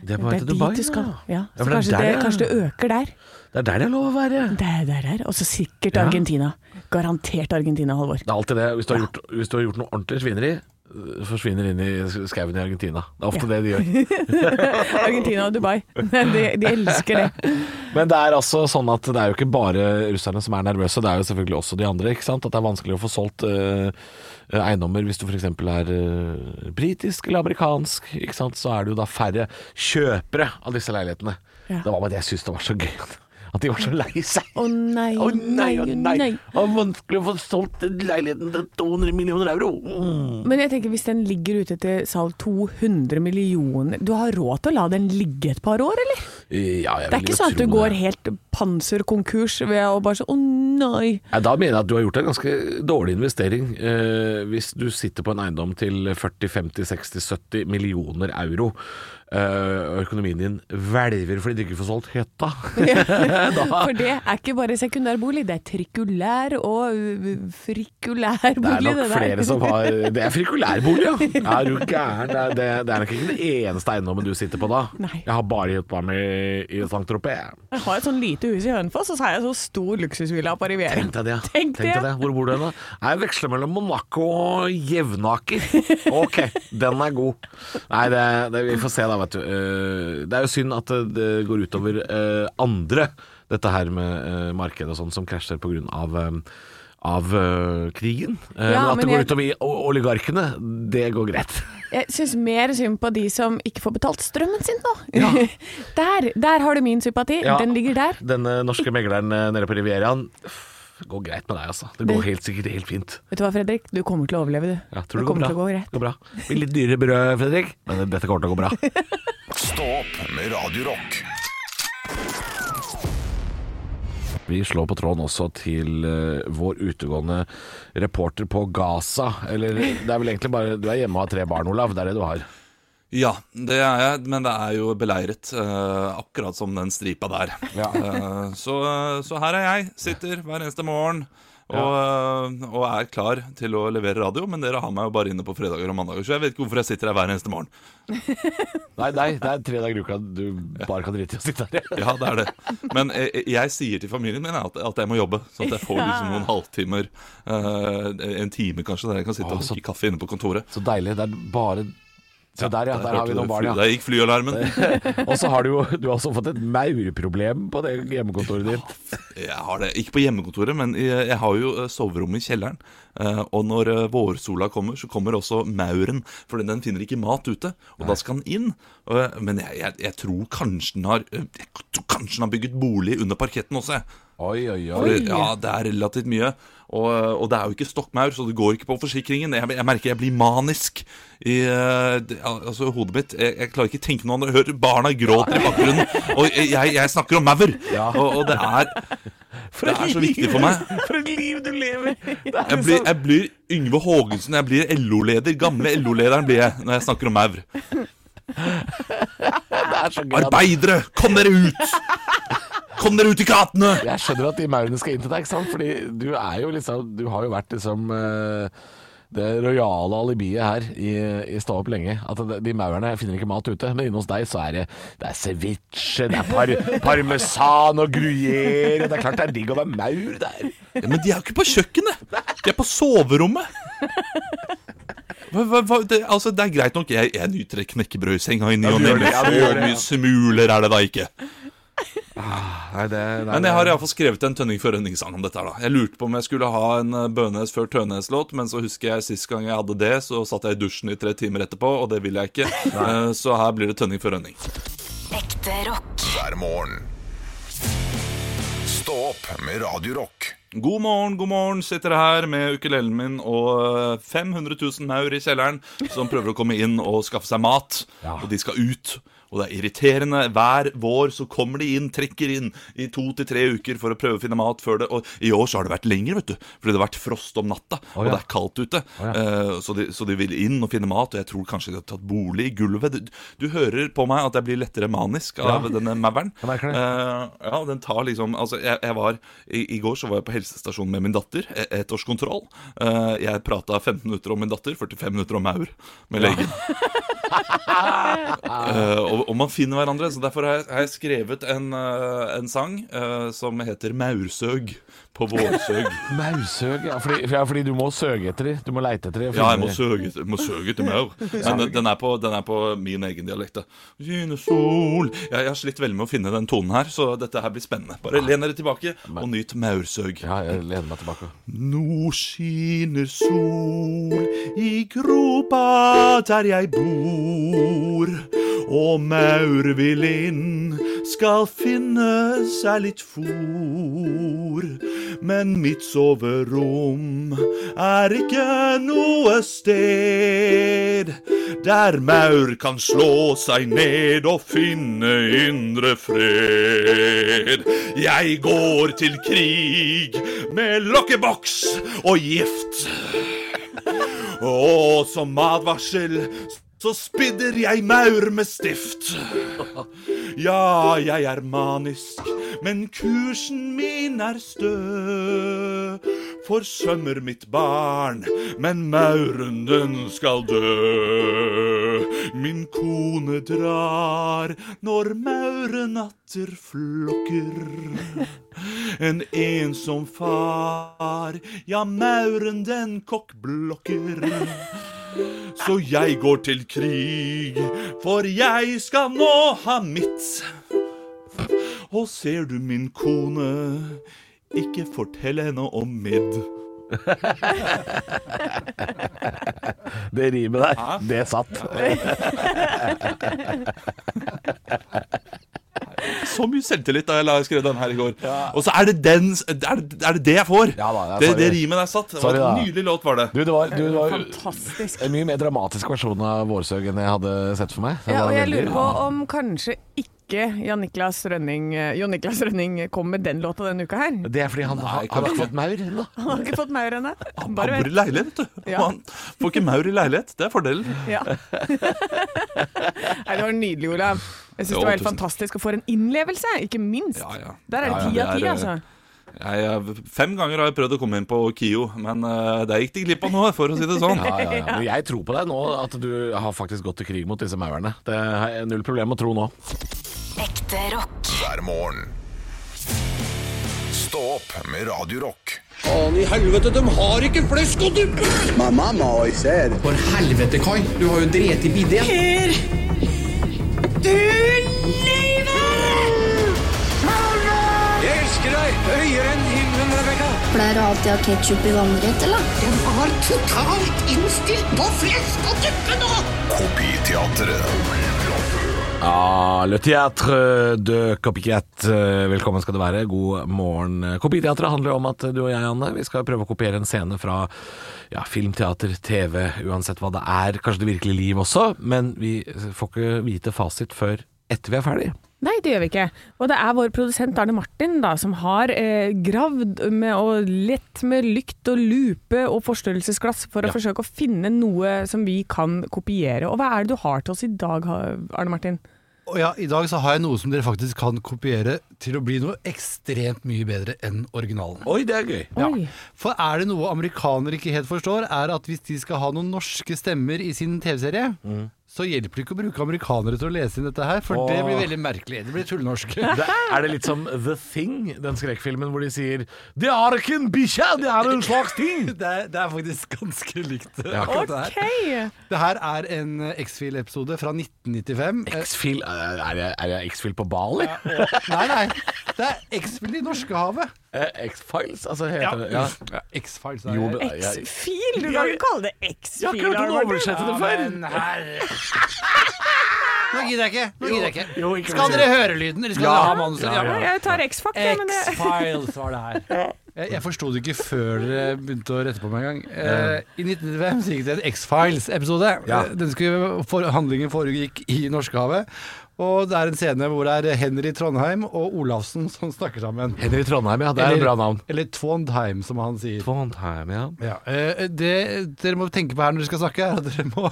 [SPEAKER 5] det er på vei
[SPEAKER 3] det
[SPEAKER 5] til
[SPEAKER 3] er
[SPEAKER 5] Dubai.
[SPEAKER 3] dit du skal.
[SPEAKER 5] Ja.
[SPEAKER 3] Ja.
[SPEAKER 5] Ja,
[SPEAKER 3] Så
[SPEAKER 5] for det er
[SPEAKER 3] kanskje, det,
[SPEAKER 5] der, ja.
[SPEAKER 3] kanskje det øker der.
[SPEAKER 5] Det er der det er lov å være.
[SPEAKER 3] Det er der, der. Og så sikkert
[SPEAKER 5] Ja.
[SPEAKER 3] Argentina. Garantert Argentina, Halvor.
[SPEAKER 5] Det er alltid det. Hvis du har gjort, hvis du har gjort noe ordentlig svineri, eh, forsvinner inn i skauen i Argentina. Det er ofte det de gjør.
[SPEAKER 3] Argentina og Dubai. De, de elsker det.
[SPEAKER 5] Men det er altså sånn at det er jo ikke bare russerne som er nervøse, det er jo selvfølgelig også de andre. ikke sant? At det er vanskelig å få solgt eh, eiendommer hvis du f.eks. er eh, britisk eller amerikansk. ikke sant? Så er det jo da færre kjøpere av disse leilighetene.
[SPEAKER 3] Ja.
[SPEAKER 5] Det var bare det jeg syntes det var så gøy. At de var så lei seg.
[SPEAKER 3] Å nei,
[SPEAKER 5] Å nei, å nei. Det var vanskelig å få solgt den leiligheten til 200 millioner euro. Mm.
[SPEAKER 3] Men jeg tenker hvis den ligger ute til salg 200 millioner Du har råd til å la den ligge et par år, eller?
[SPEAKER 5] Ja, jeg
[SPEAKER 3] Det er
[SPEAKER 5] vil jo
[SPEAKER 3] ikke sånn at du
[SPEAKER 5] tro
[SPEAKER 3] går
[SPEAKER 5] det.
[SPEAKER 3] helt panserkonkurs ved å bare så Å nei.
[SPEAKER 5] Nei, Da mener jeg at du har gjort en ganske dårlig investering eh, hvis du sitter på en eiendom til 40-50-60-70 millioner euro, eh, og økonomien din hvelver fordi du ikke får solgt hytta.
[SPEAKER 3] For det er ikke bare sekundærbolig, det er trikulær og uh, frikulær
[SPEAKER 5] Det
[SPEAKER 3] bolig.
[SPEAKER 5] er nok
[SPEAKER 3] der.
[SPEAKER 5] flere som har Det er frikulærbolig, ja! Er du gæren? Det er, det, det er nok ikke den eneste eiendommen du sitter på da.
[SPEAKER 3] Nei.
[SPEAKER 5] Jeg har bare hytta mi i Saint-Tropez.
[SPEAKER 3] Jeg har et sånn lite hus i Hønefoss, og så har jeg så stor luksusvilla på Riviera.
[SPEAKER 5] Tenk deg det.
[SPEAKER 3] Tenk det.
[SPEAKER 5] deg det. Hvor bor du hen, da? Jeg veksler mellom Monaco og Jevnaker. Ok, den er god. Nei, det, det, vi får se da, vet du. Eh, Det er jo synd at det- det går utover eh, andre, dette her med eh, markedet og sånn, som krasjer på grunn av eh, av eh, krigen. Eh,
[SPEAKER 3] Ja,
[SPEAKER 5] men at det
[SPEAKER 3] men
[SPEAKER 5] går
[SPEAKER 3] jeg-
[SPEAKER 5] utover i o- oligarkene, det går greit.
[SPEAKER 3] Jeg syns mer synd på de som ikke får betalt strømmen sin, da. der, der har du min sympati.
[SPEAKER 5] Ja.
[SPEAKER 3] Den ligger der.
[SPEAKER 5] Denne norske megleren eh, nede på Rivieraen pff, det går greit med deg, altså. Det går
[SPEAKER 3] Det-
[SPEAKER 5] helt sikkert helt fint.
[SPEAKER 3] Vet du hva, Fredrik? Du kommer til å overleve, du.
[SPEAKER 5] Ja, tror det,
[SPEAKER 3] det kommer
[SPEAKER 5] går,
[SPEAKER 3] til å
[SPEAKER 5] bra.
[SPEAKER 3] gå greit.
[SPEAKER 5] Det går bra. Det blir litt dyrere brød, Fredrik, men dette kommer til å gå bra.
[SPEAKER 8] Stå opp med Radio Rock.
[SPEAKER 5] Vi slår på tråden også til eh, vår utegående reporter på Gaza. Eller det er vel egentlig bare Du er hjemme og har tre barn, Olav. Det er det du har.
[SPEAKER 9] Ja, det er jeg, men det er jo beleiret. eh, akkurat som den stripa der. Eh, så, så her er jeg. Sitter hver eneste morgen. Og, eh, og er klar til å levere radio, men dere har meg jo bare inne på fredager og mandager. Så jeg vet ikke hvorfor jeg sitter her hver eneste morgen.
[SPEAKER 5] Nei, nei, det er tre dager i uka du bare kan drite i å sitte her.
[SPEAKER 9] Ja, det er det. Men jeg, jeg sier til familien min at, at jeg må jobbe, sånn at jeg får liksom noen halvtimer, eh, en time kanskje, der jeg kan sitte og drikke kaffe inne på kontoret.
[SPEAKER 5] Så deilig. Det er bare Se der, ja. Der har vi noen barn, ja.
[SPEAKER 9] Der gikk flyalarmen.
[SPEAKER 5] Og så har du jo du har også fått et maurproblem på det hjemmekontoret ditt.
[SPEAKER 9] Jeg har det, Ikke på hjemmekontoret, men jeg, jeg har jo eh, soverommet i kjelleren. Eh, og når eh, vårsola kommer, så kommer også mauren. For den- den finner ikke mat ute, og da skal den inn. Og, eh, men jeg, jeg, jeg tror kanskje den har eh, Jeg tror kanskje den har bygget bolig under parketten også. jeg.
[SPEAKER 5] Oi, oi, oi.
[SPEAKER 9] For det- ja, det er relativt mye. Og, eh, og det er jo ikke stokkmaur, så det går ikke på forsikringen. Jeg, jeg merker jeg blir manisk i eh, det- al- altså, hodet mitt. Jeg, jeg klarer ikke tenke noe annet. Jeg hører barna gråter i bakgrunnen, og jeg, jeg snakker om maur! Og, og det er det er så viktig for meg.
[SPEAKER 5] For et liv du lever!
[SPEAKER 9] Jeg blir, jeg blir Yngve Haagensen, jeg blir LO-leder. Gamle LO-lederen blir jeg når jeg snakker om maur.
[SPEAKER 5] Det er så gøy. at-
[SPEAKER 9] Arbeidere, kom dere ut! Kom dere ut i gatene!
[SPEAKER 5] Jeg skjønner at de maurene skal inn til deg, ikke sant? Fordi du er jo liksom Du har jo vært liksom eh, det rojale alibiet her i, i Stå opp lenge. At det- de maurene finner ikke mat ute. Men inne hos deg så er det Det er ceviche, det er par, parmesan og gruyere Det er klart det er digg å være maur der.
[SPEAKER 9] Ja, men de er jo ikke på kjøkkenet! De er på soverommet! Hva, hva, hva, det, altså, det er greit nok. Jeg, jeg nyter et knekkebrød i senga i ny og ne, men så mye smuler er det da ikke.
[SPEAKER 5] Nei, det,
[SPEAKER 9] Men jeg har iallfall skrevet en Tønning før Rønning-sang om dette. her da Jeg lurte på om jeg skulle ha en eh, Bønes før Tønes-låt, men så husker jeg sist gang jeg hadde det, så satt jeg i dusjen i tre timer etterpå, og det vil jeg ikke. Eh, Så her blir det Tønning før Rønning.
[SPEAKER 1] Ekte rock.
[SPEAKER 8] hver morgen. Stå opp
[SPEAKER 2] opp med Radio Rock.
[SPEAKER 9] God morgen, god morgen. Sitter her med ukulelen min og 500 000 maur i kjelleren som prøver å komme inn og skaffe seg mat. Og de skal ut. Og det er irriterende. Hver vår så kommer de inn, trekker inn i to til tre uker for å prøve å finne mat før det Og i år så har det vært lenger, vet du. Fordi det har vært frost om natta, og det er kaldt ute. Eh, så, de, så de vil inn og finne mat, og jeg tror kanskje de har tatt bolig i gulvet. Du, du hører på meg at jeg blir lettere manisk av denne mauren.
[SPEAKER 5] Jeg merker det.
[SPEAKER 9] Eh, ja, den tar liksom Altså, jeg, jeg var i, I går så var jeg på helsestasjonen med min datter. e- Ettårskontroll. Eh, jeg prata 15 minutter om min datter, 45 minutter om maur med legen. Eh, og, og man finner hverandre. Så derfor har jeg, har jeg skrevet en, eh, en sang eh, som heter 'Maursøg på vårsøg'.
[SPEAKER 5] Maursøg, ja fordi, ja, fordi du må søge etter de. Du må leite etter de. og
[SPEAKER 9] Ja, jeg
[SPEAKER 5] finne
[SPEAKER 9] må
[SPEAKER 5] de.
[SPEAKER 9] søke, jeg må søke til maur. Men den, den, er på, den er på min egen dialekt. da. Gine sol jeg, jeg har slitt veldig med å finne den tonen her, så dette her blir spennende. Bare len dere tilbake og nyt maursøg.
[SPEAKER 5] Ja, jeg lener meg tilbake.
[SPEAKER 9] Nå skinner sol i gropa der jeg bor. Og maur vil inn, skal finne seg litt fôr. Men mitt soverom er ikke noe sted der maur kan slå seg ned og finne indre fred. Jeg går til krig med lokkeboks og gift. Og som advarsel så spidder jeg maur med stift. Ja, jeg er manisk, men kursen min er stø. Forsømmer mitt barn, men mauren den skal dø. Min kone drar når mauren atter flokker. En ensom far, ja, mauren den kokkblokker. Så jeg går til krig, for jeg skal nå ha mitt. Og ser du min kone, ikke fortell henne om midd.
[SPEAKER 5] Det rimet der, det satt.
[SPEAKER 9] Så mye selvtillit da jeg la- skrev den her i går. Og så er det den Er det er det, det jeg får?
[SPEAKER 5] Ja da, ja,
[SPEAKER 9] det,
[SPEAKER 5] sorry.
[SPEAKER 9] det rimet er satt. Det var
[SPEAKER 5] Sorry da.
[SPEAKER 9] en nydelig låt, var det.
[SPEAKER 5] Du, det var, du, det var
[SPEAKER 3] Fantastisk.
[SPEAKER 5] en mye mer dramatisk versjon av Vårsøg enn jeg hadde sett for meg. Det
[SPEAKER 3] Ja,
[SPEAKER 5] var
[SPEAKER 3] og jeg
[SPEAKER 5] veldig-
[SPEAKER 3] lurer på om kanskje ikke Jan Niklas Rønning, eh, Jon Niklas Rønning kom med den låta denne uka her.
[SPEAKER 5] Det er fordi han har, han har ikke fått maur ennå.
[SPEAKER 3] Han har ikke fått maur ennå.
[SPEAKER 9] Han
[SPEAKER 3] Bare
[SPEAKER 9] bor i
[SPEAKER 3] vent.
[SPEAKER 9] leilighet, vet du.
[SPEAKER 3] Ja.
[SPEAKER 9] Og Han får ikke maur i leilighet. Det er fordelen.
[SPEAKER 3] Ja. Nei, det var nydelig, Olav. Jeg syns
[SPEAKER 9] Jo,
[SPEAKER 3] det var helt
[SPEAKER 9] tusen.
[SPEAKER 3] fantastisk. Og for en innlevelse, ikke minst.
[SPEAKER 9] Ja, ja.
[SPEAKER 3] Der er det
[SPEAKER 9] Ja, ja,
[SPEAKER 3] ti av
[SPEAKER 9] det
[SPEAKER 3] ti,
[SPEAKER 9] er,
[SPEAKER 3] altså.
[SPEAKER 9] Jeg, eh, fem ganger har jeg prøvd å komme inn på KIO, men eh, der gikk de glipp av noe, for å si det sånn.
[SPEAKER 5] Ja, ja, ja. Men jeg tror på deg nå, at du har faktisk gått til krig mot disse maurene. Det har jeg null problem med å tro nå.
[SPEAKER 1] Ekte rock.
[SPEAKER 2] hver morgen. Stå opp med Radio Rock.
[SPEAKER 10] For helvete, Kai. Du har jo drept i bidet.
[SPEAKER 11] Pleier du alltid å ha ketsjup i vannrett, eller? Den var totalt innstilt på flesk og duppe nå!
[SPEAKER 2] Kopiteatret.
[SPEAKER 5] Ja, Le Théâtre de Copycat. Velkommen skal du være. God morgen. Kopiteatret handler om at du og jeg, Anne, vi skal prøve å kopiere en scene fra ja, film, teater, TV, uansett hva det er. Kanskje det virkelige liv også, men vi får ikke vite fasit før etter vi er ferdig.
[SPEAKER 3] Nei, det gjør vi ikke. Og det er vår produsent Arne Martin da, som har eh, gravd med og lett med lykt og lupe og forstørrelsesglass for å forsøke å finne noe som vi kan kopiere. Og hva er det du har til oss i dag, ha- Arne Martin?
[SPEAKER 12] Og ja, I dag så har jeg noe som dere faktisk kan kopiere til å bli noe ekstremt mye bedre enn originalen.
[SPEAKER 5] Oi, det er gøy.
[SPEAKER 3] Oi.
[SPEAKER 12] For er det noe amerikanere ikke helt forstår, er at hvis de skal ha noen norske stemmer i sin TV-serie,
[SPEAKER 5] Mm.
[SPEAKER 12] så hjelper det ikke å bruke amerikanere til å lese inn dette her, for det
[SPEAKER 5] Åh.
[SPEAKER 12] blir veldig merkelig. Det blir tullnorsk.
[SPEAKER 5] Det, er det litt som The Thing, den skrekkfilmen hvor de sier 'Det er ikke en bikkje, det er en slags ting'?
[SPEAKER 12] Det er, det er faktisk ganske likt.
[SPEAKER 5] Ja.
[SPEAKER 12] akkurat det her.
[SPEAKER 3] Ok!
[SPEAKER 12] Det her er en eh, X-Fil-episode fra 1995. Eh,
[SPEAKER 5] X-Fil Er jeg- er jeg X-Fil på Bali?
[SPEAKER 12] Nei, nei. Det er X-Fil i Norskehavet.
[SPEAKER 5] Eh, X-Files, altså heter det. Ja.
[SPEAKER 12] X-Files
[SPEAKER 5] Jo, men- jeg-
[SPEAKER 3] X-fil? Du kan ikke kalle det
[SPEAKER 5] Jeg har
[SPEAKER 3] X-fil.
[SPEAKER 5] ikke hørt
[SPEAKER 3] Arne
[SPEAKER 5] noen
[SPEAKER 3] Martin.
[SPEAKER 5] oversette det før.
[SPEAKER 12] Men herre Nå gidder jeg ikke. Nå gidder jeg ikke.
[SPEAKER 5] Jo, jo, ikke
[SPEAKER 12] skal
[SPEAKER 5] mer.
[SPEAKER 12] dere høre lyden, eller skal
[SPEAKER 5] Ja,
[SPEAKER 12] dere ha manuset?
[SPEAKER 5] ja, ja.
[SPEAKER 3] Jeg tar X-Fact, jeg, men det
[SPEAKER 5] X-Files var det her.
[SPEAKER 12] Jeg, jeg forsto det ikke før dere begynte å rette på meg en gang. Eh, I 1995 så gikk det en X-Files-episode.
[SPEAKER 5] Ja.
[SPEAKER 12] Eh, Den skulle, for, handlingen foregikk i Norskehavet. Og det er en scene hvor det er Henry Trondheim og Olafsen som snakker sammen.
[SPEAKER 5] Henry Trondheim, ja. Det er et bra navn.
[SPEAKER 12] Eller Tvondheim, som han sier.
[SPEAKER 5] Trondheim, ja.
[SPEAKER 12] Ja, eh, det dere må tenke på her når dere skal snakke, er at dere må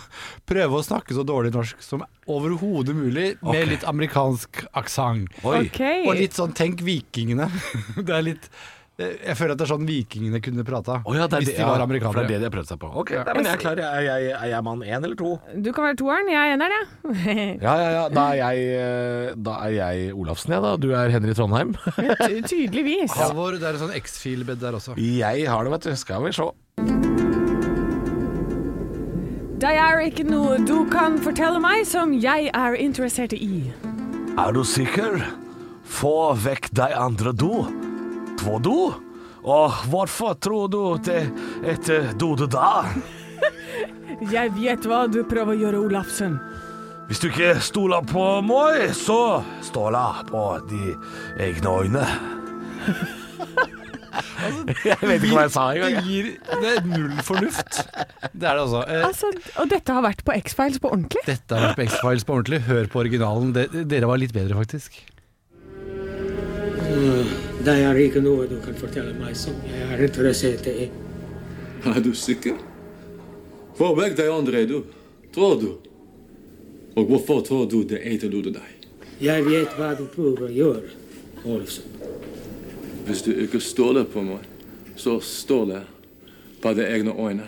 [SPEAKER 12] prøve å snakke så dårlig norsk som overhodet mulig, med
[SPEAKER 5] Ok.
[SPEAKER 12] litt amerikansk aksent.
[SPEAKER 5] Oi.
[SPEAKER 3] OK.
[SPEAKER 12] Og litt sånn 'tenk vikingene'. Det er litt eh, Jeg føler at det er sånn vikingene kunne prata
[SPEAKER 5] Å ja, det er
[SPEAKER 12] hvis
[SPEAKER 5] det-
[SPEAKER 12] de var
[SPEAKER 5] ja, for
[SPEAKER 12] amerikanere.
[SPEAKER 5] Det er det de har prøvd seg på. Ok, nei, men jeg er klar. Er jeg, er jeg mann én eller to?
[SPEAKER 3] Du kan være toeren, jeg er eneren, jeg.
[SPEAKER 5] Ja, ja, ja. Da er jeg, eh, da er jeg Olafsen, jeg, da. Du er Henry Trondheim.
[SPEAKER 3] Ty- Tydeligvis.
[SPEAKER 12] Halvor, det er en sånn X-fil-bed der også.
[SPEAKER 5] Jeg har det, vet du. Skal vi se.
[SPEAKER 3] Det er ikke noe du kan fortelle meg som jeg er interessert i.
[SPEAKER 5] Er du sikker? Få vekk de andre do. Två do? Og hvorfor tror du det heter Dode da?
[SPEAKER 3] Jeg vet hva du prøver å gjøre, Olafsen.
[SPEAKER 5] Hvis du ikke stoler på meg, så stoler på de egne øyne. jeg vet ikke hva jeg sa
[SPEAKER 12] Det,
[SPEAKER 5] engang.
[SPEAKER 12] gir, det er null fornuft. Det er det altså. Eh,
[SPEAKER 3] Altså, og dette har vært på X-Files på ordentlig?
[SPEAKER 12] Dette har vært på X-Files på ordentlig. Hør på originalen. Det, dere var litt bedre, faktisk.
[SPEAKER 13] Mm, Det er ikke noe du kan fortelle meg som jeg er interessert i.
[SPEAKER 14] Er du sikker? Få vekk de andre, du. Tror du? Og hvorfor tror du det heter Dode deg?
[SPEAKER 13] Jeg vet hva du prøver å gjøre, Olsen.
[SPEAKER 14] Hvis du ikke stoler på meg, så stoler jeg på de egne øyne.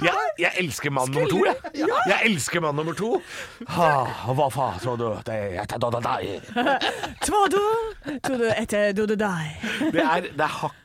[SPEAKER 5] Jeg, jeg elsker mann nummer to, jeg. Jeg elsker mann nummer to. Ha, og hva faen tror du det heter Dode deg?
[SPEAKER 3] Tvado, trodde etter dode eh, deg.
[SPEAKER 5] Det er, det er hakket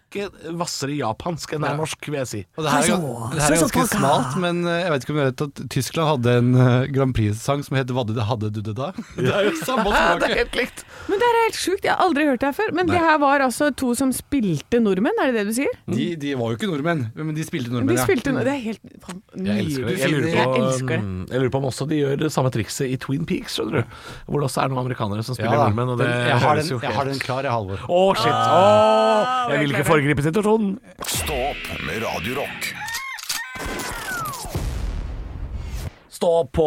[SPEAKER 5] hvassere japansk enn det er norsk, vil jeg si.
[SPEAKER 12] Og det her er,
[SPEAKER 3] Hallo, Sånn
[SPEAKER 12] gans- det her er
[SPEAKER 3] så, så,
[SPEAKER 12] ganske
[SPEAKER 3] folka.
[SPEAKER 12] smalt, men eh, jeg vet ikke om dere vet at Tyskland hadde en eh, Grand Prix-sang som het 'Vadde det hadde du det da'? Det er jo samme
[SPEAKER 5] Det er
[SPEAKER 12] språket.
[SPEAKER 5] helt likt.
[SPEAKER 3] Men det her er helt sjukt, jeg har aldri hørt det her før. Men det her var altså to som spilte nordmenn, er det det du sier?
[SPEAKER 12] De, de var jo ikke nordmenn, men de spilte nordmenn.
[SPEAKER 3] De
[SPEAKER 12] ja.
[SPEAKER 3] spilte nordmenn, det er helt
[SPEAKER 5] Jeg elsker det.
[SPEAKER 3] nydelig.
[SPEAKER 5] Jeg lurer, på,
[SPEAKER 3] Jeg elsker det.
[SPEAKER 5] mm, jeg lurer på om også de gjør det samme trikset i Twin Peaks, skjønner du. Hvor det også er noen amerikanere som
[SPEAKER 12] Ja,
[SPEAKER 5] spiller
[SPEAKER 12] da.
[SPEAKER 5] nordmenn, og det
[SPEAKER 12] Den- jeg, har
[SPEAKER 5] høres
[SPEAKER 12] den,
[SPEAKER 5] jo
[SPEAKER 12] jeg
[SPEAKER 5] helt
[SPEAKER 12] har den klar, jeg, Halvor.
[SPEAKER 5] Å, shit! Å, jeg vil ikke foregripe situasjonen.
[SPEAKER 2] Stå opp med Radio Rock.
[SPEAKER 5] Stå på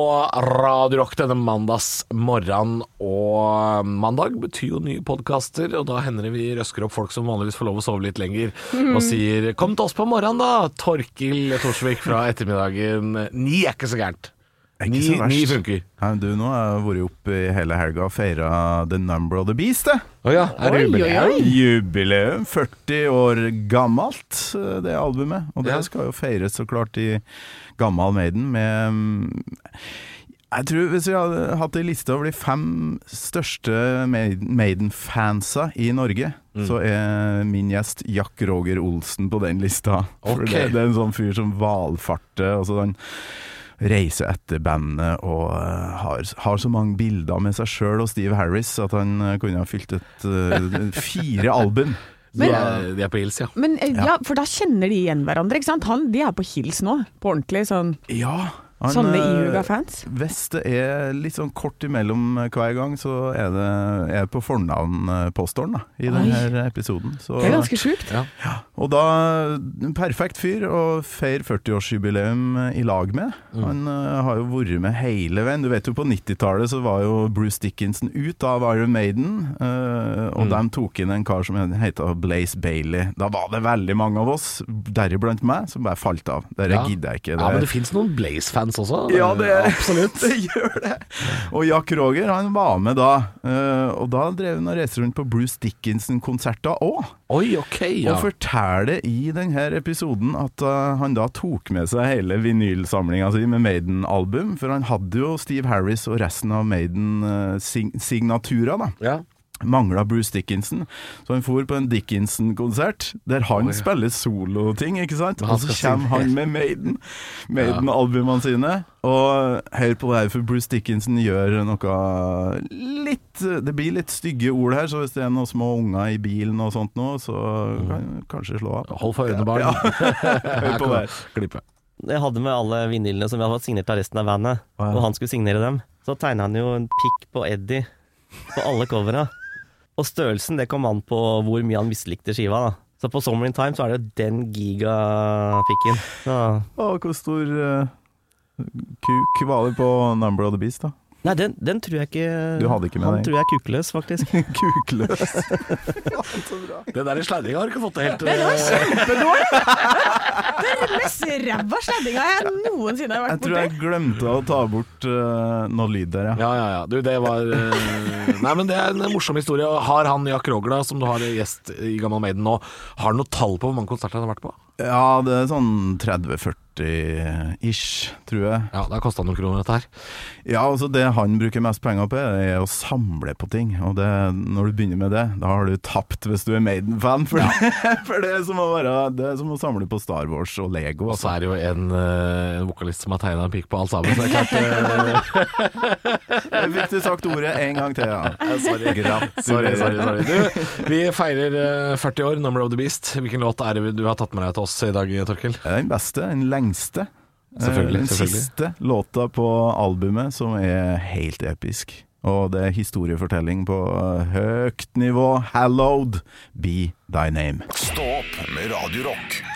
[SPEAKER 5] Radio Rock denne mandags morgen, og mandag betyr jo nye podkaster, og da hender det vi røsker opp folk som vanligvis får lov å sove litt lenger, og sier 'kom til oss på morgenen', da, Torkil Torsvik fra ettermiddagen. Ni er ikke så gærent. Ni,
[SPEAKER 8] Ikke så verst.
[SPEAKER 5] ni funker.
[SPEAKER 8] Nei, men du, nå har jeg vært oppe i hele helga og feira The Number of the Beast. Det.
[SPEAKER 5] Å ja, er
[SPEAKER 3] Oi,
[SPEAKER 5] det
[SPEAKER 3] oi,
[SPEAKER 5] jubileum?
[SPEAKER 3] oi.
[SPEAKER 8] Jubileum. 40 år gammelt, eh, det albumet. Og det
[SPEAKER 5] Ja.
[SPEAKER 8] skal jo feires så klart i gammal Maiden med mm, jeg tror Hvis vi hadde hatt en liste over de fem største Maiden- Maiden-fansa i Norge, så er min gjest Jack Roger Olsen på den lista. For
[SPEAKER 5] Ok.
[SPEAKER 8] det, det er en sånn fyr som valfarter. og så han reiser etter bandet og eh, har, har så mange bilder med seg sjøl og Steve Harris at han eh, kunne ha fylt et eh, fire album.
[SPEAKER 5] De er, de er på hils, ja.
[SPEAKER 3] Men eh, ja, for da kjenner de igjen hverandre, ikke sant? Han, de er på hils nå, på ordentlig, sånn,
[SPEAKER 8] Ja, han,
[SPEAKER 3] sånne
[SPEAKER 8] eh,
[SPEAKER 3] ihuga-fans.
[SPEAKER 8] Hvis det er litt sånn kort imellom hver gang, så er det, er det på fornavn-påståren da, i
[SPEAKER 3] Oi.
[SPEAKER 8] denne episoden. Så,
[SPEAKER 3] Det er ganske sjukt.
[SPEAKER 8] og da en Perfekt fyr å feire 40-årsjubileum i lag med.
[SPEAKER 5] Mm.
[SPEAKER 8] Han eh, har jo vært med hele veien. Du vet jo på 90-tallet så var jo Bruce Dickinson ut av Iron Maiden, eh,
[SPEAKER 5] Mm.
[SPEAKER 8] og de tok inn en kar som heter Blaze Bailey. Da var det veldig mange av oss, deriblant meg, som bare falt av. Dette
[SPEAKER 5] Ja.
[SPEAKER 8] gidder jeg ikke.
[SPEAKER 5] Ja, men
[SPEAKER 8] Det-
[SPEAKER 5] det fins noen Blaze-fans også.
[SPEAKER 8] ja, det,
[SPEAKER 5] Absolutt.
[SPEAKER 8] det gjør det. Og Jack Roger han var med da, eh, og da drev han og reiste rundt på Bruce Dickinson-konserter òg.
[SPEAKER 5] Oi, ok, ja.
[SPEAKER 8] Og forteller i denne episoden at eh, han da tok med seg hele vinylsamlinga si med Maiden-album, for han hadde jo Steve Harris og resten av Maiden-signaturer, da
[SPEAKER 5] Ja.
[SPEAKER 8] mangla Bruce Dickinson, så han for på en Dickinson-konsert der han spiller soloting, ikke sant?
[SPEAKER 5] han
[SPEAKER 8] Og så
[SPEAKER 5] skal
[SPEAKER 8] kommer han med Maiden, Maiden-albumene sine. Og hør på det her, for Bruce Dickinson gjør noe litt Det blir litt stygge ord her, så hvis det er noen små unger i bilen og sånt nå, så kan du kanskje slå av.
[SPEAKER 5] Hold for ørene, barn.
[SPEAKER 8] Hør på det.
[SPEAKER 5] Klippe.
[SPEAKER 15] Jeg hadde med alle vinylene som vi hadde fått signert av resten av bandet.
[SPEAKER 8] ja.
[SPEAKER 15] Og han skulle signere dem. så tegna han jo en pikk på Eddie på alle covera. Og størrelsen det kom an på hvor mye han mislikte skiva. da Så på Summer in Time så er det jo den gigapikken. Ja.
[SPEAKER 8] Og hvor stor eh, kuk var det på Number of the Beast, da?
[SPEAKER 15] Nei, den, den tror jeg ikke
[SPEAKER 8] Du hadde ikke med
[SPEAKER 15] Han
[SPEAKER 8] deg.
[SPEAKER 15] tror jeg er kukløs, faktisk.
[SPEAKER 8] kukløs.
[SPEAKER 5] Det der i sladringa har du ikke fått det helt
[SPEAKER 3] Det var
[SPEAKER 5] eh,
[SPEAKER 3] kjempedårlig! Det er den mest ræva sleddinga jeg noensinne har
[SPEAKER 8] Jeg
[SPEAKER 3] vært
[SPEAKER 8] tror jeg
[SPEAKER 3] borti.
[SPEAKER 8] glemte å ta bort eh, noe lyd der, ja.
[SPEAKER 5] Ja, ja, ja. Du, det var eh, Nei, men det er en morsom historie. Og Har han Jack Roger, da, som du har eh, gjest i Gammal Maiden nå, har han noe tall på hvor mange konserter han har vært på?
[SPEAKER 8] Ja, det er sånn 30-40 ish, tror jeg.
[SPEAKER 5] Ja, Det har kosta noen kroner, dette her.
[SPEAKER 8] Ja, altså Det han bruker mest penger på, er å samle på ting. Og det, når du begynner med det, da har du tapt hvis du er Maiden-fan. For, for det, er som å være, det er som å samle på Star Wars og Lego. altså.
[SPEAKER 5] Og så er det jo en, eh, en vokalist som har tegna en pikk på alt sammen, så det er klart eh,
[SPEAKER 8] Jeg fikk du sagt ordet en gang til, ja.
[SPEAKER 5] eh, Sorry.
[SPEAKER 8] Gratulerer.
[SPEAKER 5] Sorry, sorry, sorry. Du, vi feirer eh, 40 år, Number of the Beast. Hvilken låt er det du har tatt med deg til oss i dag, Torkel?
[SPEAKER 8] Det er den beste, den lengste. Eh,
[SPEAKER 5] Selvfølgelig,
[SPEAKER 8] Den
[SPEAKER 5] selvfølgelig.
[SPEAKER 8] siste låta på albumet som er helt episk. Og det er historiefortelling på eh, høyt nivå. Hallowed be thy name.
[SPEAKER 2] Stå opp med Radio Rock.